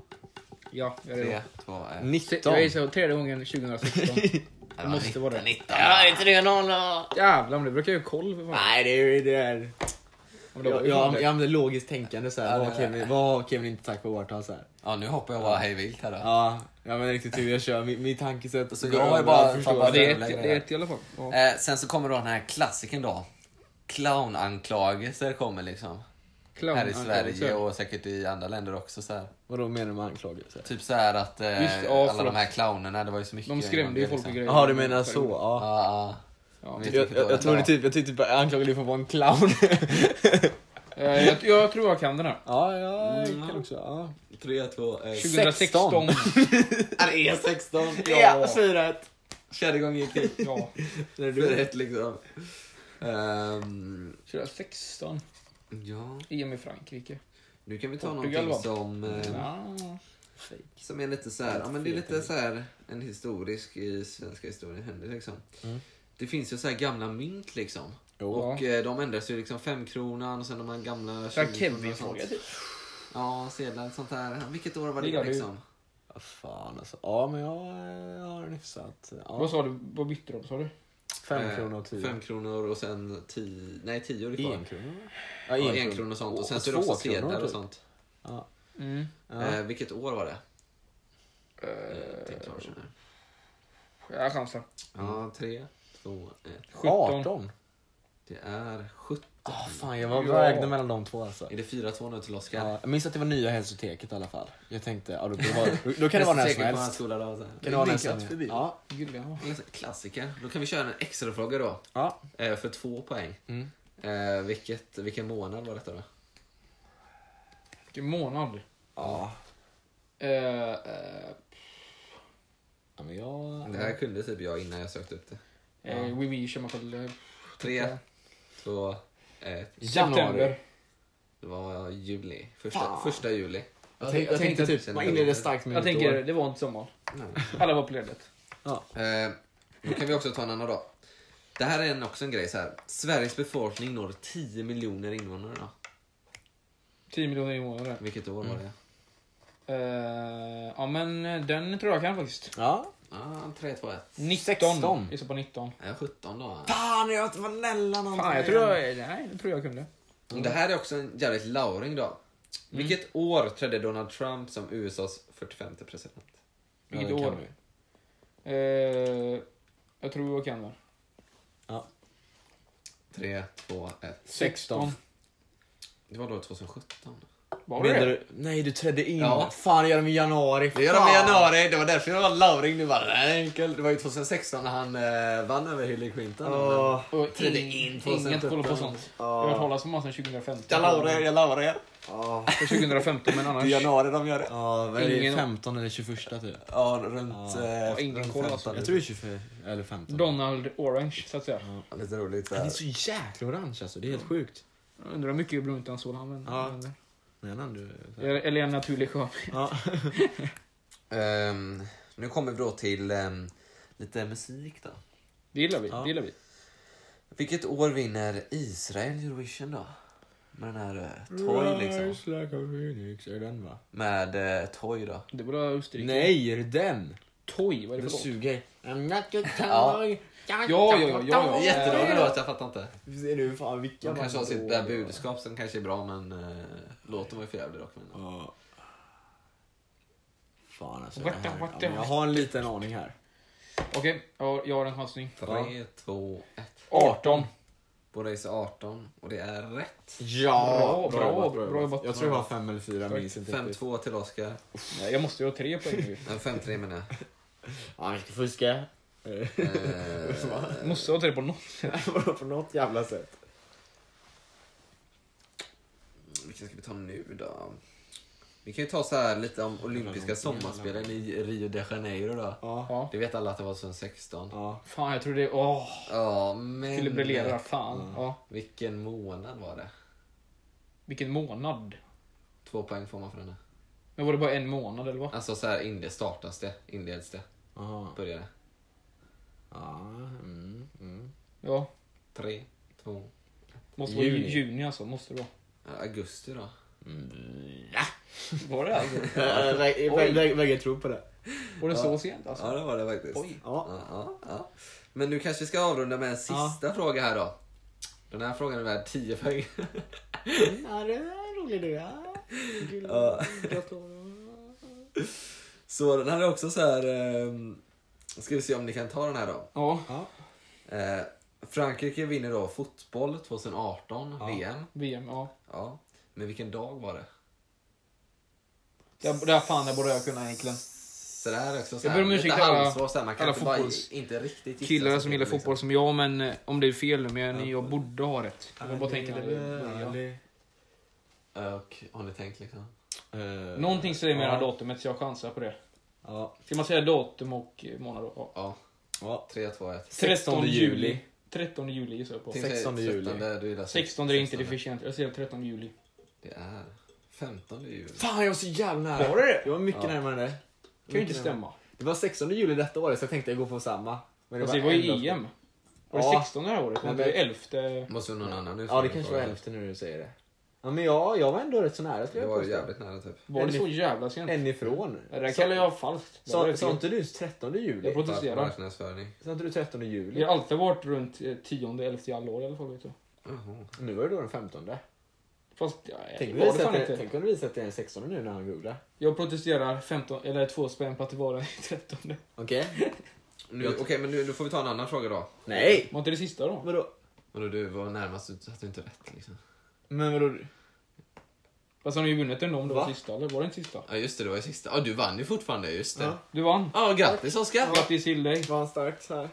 B: Ja, jag är
C: Tre,
B: det.
C: två, eh, ett.
B: Se-
A: 19.
B: Jag gissar tredje gången 2016.
C: Nej,
B: det måste vara det.
C: 19.
A: det är 3-0
B: Jävlar, men det brukar jag ju ha koll för fan.
A: Nej, det är det. Är.
B: Om det var-
A: Jag, jag, jag använder logiskt tänkande så här.
C: Ja,
A: Vad
C: det-
A: kan vi, vad kan vi inte tacka på årtal så här?
C: Ja, nu hoppar jag bara hej vilt här då.
A: Ja, jag men riktigt hur jag kör. Min, min tankesätt.
C: Så
A: går
C: jag har ju
A: över
C: bara-
A: all förståelse.
B: Ja, det är
C: jävla
B: ett,
C: grejer.
B: det är ett i alla fall. Ja.
C: Eh, sen så kommer då den här klassiken då. Clownanklagelser kommer liksom.
B: Clown, Alltså,
C: här i
B: ja,
C: Sverige
B: exakt.
C: och säkert i andra länder också. Så här.
A: Vadå menar du med anklagelser?
C: Typ så här att eh,
B: Just det, ja,
C: alla
B: förlåt.
C: de här clownerna, det var ju så mycket.
B: De skrämde ju folk och grejer.
A: Jaha, du menar så. Ja.
C: liksom. Ja,
B: Ja.
C: ja.
A: Jag, jag, jag, tror det typ, jag tyckte typ jag anklagade dig för att vara en clown.
B: Eh, Jag, jag tror jag kan den här.
A: ja, ja, jag kan också. Ja.
C: 3, 2, 1.
B: 2016.
A: 16.
C: Det är 16!
A: Ja, 4-1.
C: Fjärde gången gick det.
B: Ja,
C: För rätt liksom. Ehm,
B: 2016.
C: ja,
B: EM i Frankrike.
C: nu kan vi ta
B: Portugal,
C: någonting som, eh,
B: Ja.
C: som är lite så här, ja men det är lite så här en historisk i svenska historien händer liksom.
B: Mm.
C: Det finns ju så här gamla mynt liksom.
A: Jo.
C: Och eh, de ändras ju liksom femkronan och sen de här gamla
B: Så här
C: 20-kronorna och sånt.
B: Kevin-fråga typ.
C: Ja, sedlar och sånt där. Vilket år var det
B: Gillar du?
C: liksom?
A: fan alltså. Ja, men jag, eh, har en hyfsat...
B: Vad
A: Ja.
B: sa du? Vad bytte de? Sa du?
A: Fem
C: Eh,
A: kronor och tio.
C: Fem kronor och sen tio, nej tio är det kvar.
A: En kronor?
C: Ja, en kronor och sånt. Och sen så är det också
A: två kronor,
C: sedlar och
A: typ.
C: sånt.
A: Ja.
B: Mm.
A: Ja.
C: Eh, vilket år var det? Eh, tänkte jag känna.
B: Jag chansar.
C: Ja, tre, två, ett.
B: 17.
A: 18.
C: Det är 17.
A: Ah, fan, jag var
B: Ja.
A: jag vägde mellan de två alltså.
C: Är det 4-2 nu till Oskar?
A: Ja, jag minns att det var nya hälsoteket i alla fall. Jag tänkte, ja, då, då, var, då, då kan det vara när som
C: Säkert på
A: helst.
C: hans skola då, så här.
A: Kan det vara när
B: Blinkat
A: som
B: förbi.
A: Ja.
B: Gud, ja.
C: Eller så- Klassiker. Då kan vi köra en extra fråga då.
A: ja.
C: Eh, för två poäng.
A: Mm.
C: Eh, vilket, vilken månad var detta då?
B: Vilken månad.
A: Ja.
B: Eh, eh,
A: ja men jag...
C: Det här kunde typ jag innan jag sökte upp det.
B: eh, We We kör man själv.
C: Tre, två, ett.
A: Januari.
C: Det var juli. Första,
A: Fan.
C: första juli.
A: Jag tänkte, jag tänkte typ, man inleder starkt med
B: Jag
A: nytt
B: tänker,
A: år.
B: det var inte sommar.
C: Nej.
B: Alla var på ledigt.
A: Ja.
C: Eh, då kan vi också ta en annan då. Det här är en, också en grej så här. Sveriges befolkning når 10 miljoner invånare då.
B: 10 miljoner invånare.
C: Vilket år var det?
B: Eh, ja men eh, den tror jag kan faktiskt.
A: ja.
C: Ah, 3, 2, 1.
B: 19.
A: 16.
B: Gissa på 19.
C: Eh, 17 då.
A: Fan, jag var nära någonting.
B: Fan, jag tror jag, nej, det tror jag kunde.
C: Mm. Det här är också en jävligt lauring då. Vilket år trädde Donald Trump som USAs 45 president?
B: Vilket
A: det kan
B: år?
A: vi.
B: Eh, jag tror jag kan det.
A: Ja.
C: 3, 2, 1.
B: 16.
C: Det var då 2017.
B: Var det
A: Menar
B: det?
A: du, nej du trädde in.
C: Ja.
A: Fan jag gör dem i januari.
C: Det gör de i
A: Fan.
C: januari, det var därför det var lauring. Det var enkel. Det var ju 2016 när han eh, vann över Hillary Clinton.
A: Åh.
B: Och
C: Trädde
B: in-
C: in
B: Inget
C: 2017.
B: koll på sånt. Jag har hört talas om honom sedan 2015.
A: Jag lovar er, jag lovar er.
B: För 2015 men
A: Det är
B: annars.
A: januari de gör det. Ja, vad är det,
B: Ingen-
A: 15 eller 21 typ?
C: Ja, runt...
A: Ja.
C: eh,
B: Ja, ingen
C: runt
B: koll
C: 15.
B: alltså.
A: Jag tror det är 24 eller 15.
B: Donald Orange så att säga.
C: Ja, Lite roligt. Så
A: Han är
C: här.
A: så jäkla orange alltså, det är helt sjukt.
B: Jag Undrar hur mycket brunt han såg han använder.
A: Ja. Menar du?
B: Eller- Eller en naturlig skön.
A: Ja.
C: Ehm, nu kommer vi då till ehm, lite musik då.
B: Det gillar vi.
A: Ja.
B: Det gillar vi.
C: Vilket år vinner Israel Eurovision då? Med den här eh, Toy liksom.
A: Rise like a phoenix, är det den va?
C: Med eh, Toy då.
B: Det var Österrike.
A: Nej, är det den?
B: Toy, vad är
A: Nu
B: det för låt?
A: suger jag. I'm not your
C: Ja.
A: toy. Ja,
B: ja, ja, ja.
C: Jättedålig låt, jag fattar inte.
A: Ser du fan vilka
C: De kanske har
A: band
C: sitt där
A: det var.
C: budskap som kanske är bra men eh, låten var ju för jävlig dock. Men,
A: Ja. Fan alltså.
B: Vart
A: jag
B: det-
A: har-
B: vart det-
A: ja, men jag har en liten aning här.
B: Okej, jag har- jag har en chansning.
C: Tre, två, ett.
B: 18.
C: Båda är 18 och det är rätt.
A: Ja,
B: Bra, bra, bra jobbat.
A: Jag tror jag har fem eller fyra, minns inte riktigt.
C: 5-2 till Oskar.
B: Nej, jag måste ju ha tre poäng nu.
C: Nej, 5-3 menar jag.
A: Ja, jag ska fuska.
C: Eh,
B: Jag Måste ha tre på något.
A: Vadå på något jävla sätt?
C: Vilken ska vi ta nu då? Vi kan ju ta så här lite om olympiska sommarspelen i Rio de Janeiro då.
A: Ja.
B: Ja.
C: Det vet alla att det var 2016.
A: Ja.
B: Fan, jag tror det... Åh,
C: Ja, men...
B: skulle briljera. Fan. Ja.
C: Vilken månad var det?
B: Vilken månad.
C: Två poäng får man för den här.
B: Men var det bara en månad eller vad?
C: Alltså så här inleds startas det, inleds det,
A: Aha.
C: börjar det.
A: Ja. Mm, mm.
B: Ja.
C: Tre, två...
B: Måste vara juni,
A: Juni.
B: juni alltså. Måste det vara.
C: ja, Augusti då?
B: Var det alltså?
A: Bägge tror på det.
B: Var det så sent alltså?
C: Ja, det var det faktiskt.
B: Oj.
A: Ja.
C: Ja, ja, ja. Men nu kanske vi ska avrunda med en sista fråga här då. Den här frågan är värd 10 poäng.
A: Ja, det är rolig du är.
C: Ja. Så den här är också så här... ehm, Ska vi se om ni kan ta den här då.
B: Ja.
A: Ja.
C: Eh, Frankrike vinner då fotboll 2018, VM.
B: VM, ja.
C: Ja. Men vilken dag var det?
B: Det, det här fan, det borde jag kunna egentligen.
C: Så det här är också så
B: Jag
C: här,
B: ber om ursäkt
C: lite
B: alla-
C: halvsvår, så här, man kan
B: alla
C: inte, bara,
B: fotbolls-
C: inte riktigt gissa
B: Killar
C: sig
B: som
C: till
B: gillar
C: det, liksom.
B: fotboll som jag, men eh, om det är fel nu, men jag, jag borde ha rätt. Jag bara tänker det. Ja.
C: Eh, Och har ni tänkt liksom?
A: Eh,
B: Någonting säger mig det här
A: ja.
B: datumet, så jag chansar på det.
A: Ja.
B: Ska man säga datum och eh, månad? då? Ja.
C: Ja,
A: ja.
C: 3, 2, 1.
A: 16 juli.
B: 13 juli gissar jag på.
A: Tänk- 16 juli.
C: Du gillar
B: 16 är inte det för sent. Jag säger 13 juli.
C: Det är 15 juli.
A: Fan, jag var så jävla nära.
B: Var det det?
A: Jag var mycket
C: Ja.
A: närmare än det.
B: Det kan ju inte
A: Mycket närmare.
B: stämma.
A: Det var 16 juli detta året så jag tänkte jag går på samma. Men
B: Fast Alltså, det var ju
A: ändå-
B: EM. E Var det
A: Ja.
B: 16 det här året?
A: Men
B: Men det var
A: det-
B: 11...
C: Måste vara någon annan nu.
A: Ja, det kanske var hälften nu när du säger det. Ja, Ja, men jag, jag var ändå rätt så nära skulle
C: Det
A: jag
C: var
A: påstå.
C: ju jävligt nära typ.
B: Var det så jävla sent?
A: En ifrån.
B: Det där
A: Sa-
B: kallar jag falskt. Det var
A: Sa,
B: ju
A: sa
B: fel.
A: inte du 13 juli?
B: Jag protesterar.
C: Marknadsföring.
A: Sa inte du 13
B: Vi
A: juli?
B: har alltid varit runt eh, tionde, elfte i alla år i alla fall. Vet du.
C: Jaha.
A: Nu var det då den 15.
B: Fast ja, jag
A: Tänk om
B: var
A: det
B: det
A: visar
B: fan
A: att det-
B: inte.
A: tänk om det visar att det är den 16 nu när han googlar.
B: Jag protesterar 15, eller två spänn på att det var den 13.
A: Okej.
C: Nu- Okej, men nu, nu får vi ta en annan fråga då.
A: Nej!
B: Var inte det sista då?
A: Vadå?
C: Vadå, du var närmast, du hade inte rätt liksom.
A: Men vadå?
B: Fast han har ju vunnit ändå om det var
A: Va?
B: sista, eller var det inte sista?
C: Ja, just det, det var ju sista. Ja, du vann ju fortfarande, just det.
A: Ja.
C: Ja,
B: Du vann.
C: grattis Oskar!
B: Grattis till dig.
A: Var han starkt så här?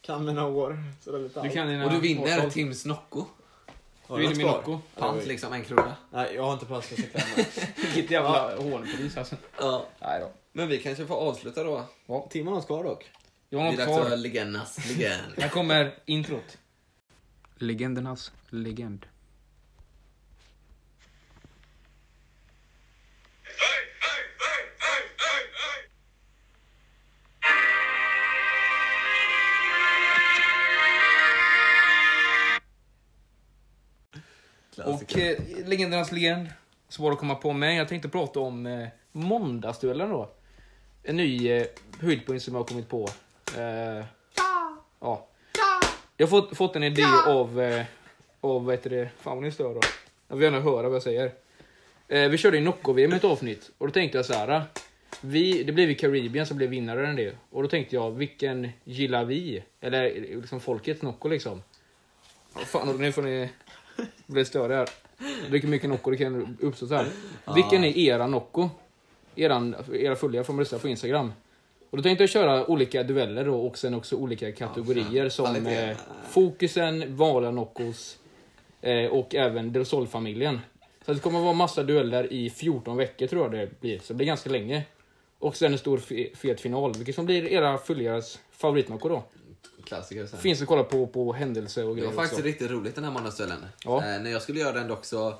A: Kan mina år. Så det är lite
B: Du kan dina
C: Och du vinner
B: årtal.
C: Tims Nocco.
A: Har
B: Du
A: du
B: vinner
A: något
B: min
A: kvar?
B: Nocco.
C: Pant liksom, en krona.
A: Nej, jag har inte plats för cyklarna.
B: Vilket jävla hånpris alltså.
C: Ja.
B: Nej då.
C: Men vi kanske får avsluta då.
A: Timman har kvar dock.
B: Jag har
C: Det
B: något
C: är dags för
B: kvar.
C: legendernas legend.
B: Här kommer introt. Legendernas legend. Och eh, legendernas legend, svår att komma på, men jag tänkte prata om eh, måndagsduellen då. En ny eh, höjdpunkt som jag har kommit på. Eh, ja. Jag har fått, fått en idé av, eh, av vad heter det, fan vad ni stör då. Jag vill gärna höra vad jag säger. Eh, vi körde ju Nocco-VM ett avsnitt och då tänkte jag så här. Vi, det blev ju Caribbean som blev vinnaren det. Och då tänkte jag, vilken gillar vi? Eller liksom folkets Nocco liksom. Åh, Fan, nu får ni bli större här. Dricker mycket Nocco, det kan uppstå så här. Vilken är era Nocco? Eran, era följare får man rösta på Instagram. Och då tänkte jag köra olika dueller då och sen också olika kategorier som
C: Kvalitet.
B: eh, Fokusen, Vala Noccos eh, och även Del Sol-familjen. Så det kommer vara massa dueller i 14 veckor tror jag det blir, så det blir ganska länge. Och sen en stor fe- fet final, vilket som blir era följares favoritnockor då.
C: Klassiker. Så här.
B: Finns att kolla på på händelse och
C: Det
B: grejer
C: var faktiskt
B: också.
C: riktigt roligt den här måndagsduellen.
B: Ja.
C: Eh, när jag skulle göra den dock så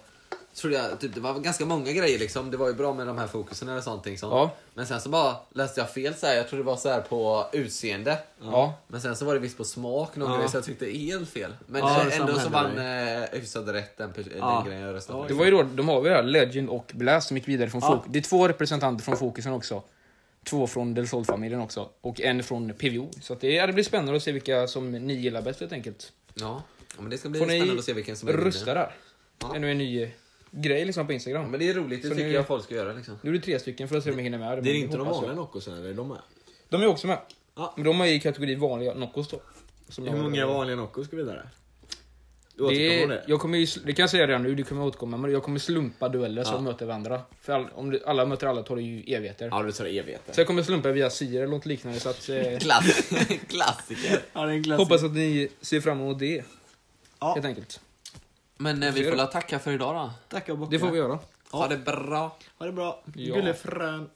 C: trodde jag, typ, det var ganska många grejer liksom. Det var ju bra med de här fokusen eller sånt. Liksom.
B: Ja.
C: Men sen så bara läste jag fel så här. Jag trodde det var så här på utseende.
B: Ja.
C: Men sen så var det visst på smak någon
A: Ja.
C: grej så jag tyckte helt fel. Men
A: Ja,
C: eh,
A: det
C: ändå
A: samma
C: så
A: hände
C: vann
A: mig.
C: eh, hyfsad rätt den, pers-
A: Ja.
C: den grejen jag röstade
A: Ja,
C: på.
B: Det var ju då, de har vi här, Legend och Blast som gick vidare från
A: Ja.
B: Fokus. Det är två representanter från Fokusen också. Två från Del Sol-familjen också. Och en från PVO. Så att det, ja, det blir spännande att se vilka som ni gillar bäst helt enkelt.
C: Ja. ja, men det ska bli
B: Får ni
C: spännande att se vilken som är
B: Rösta
C: vinnare.
B: där.
C: Ja.
B: Ännu en ny eh, grej liksom på Instagram.
C: Ja, men det är roligt, det
B: Så
C: tycker
B: nu-
C: jag folk ska göra liksom.
B: Nu är det tre stycken för att se om vi hinner med.
A: Det är
B: men
A: inte de
B: hoppas
A: vanliga
B: jag.
A: Noccosen eller? Är De är.
B: De är också med.
A: Ja.
B: Men de är i kategori vanliga Noccos då. Som
A: Hur
B: jag-
A: många vanliga Noccos ska vi vidare?
B: Det,
A: Du återkommer
B: är-
A: det?
B: jag kommer ju, sl- det kan jag säga redan nu, du kommer återkomma, men jag kommer slumpa dueller som möter varandra. För all, om du, alla möter alla tar det ju evigheter.
A: Ja, du tar evigheter.
B: Så jag kommer slumpa via Siri eller något liknande. Så att, eh,
C: Klass... Klassiker.
A: Ja, det är en klassiker.
B: hoppas att ni ser fram emot det.
A: Ja.
B: Helt enkelt.
C: Men eh, vi får väl tacka för idag då.
A: Tackar och
B: Det får vi göra.
C: Ha det bra.
A: Ha det bra.
B: Ja.
A: Gullefrön.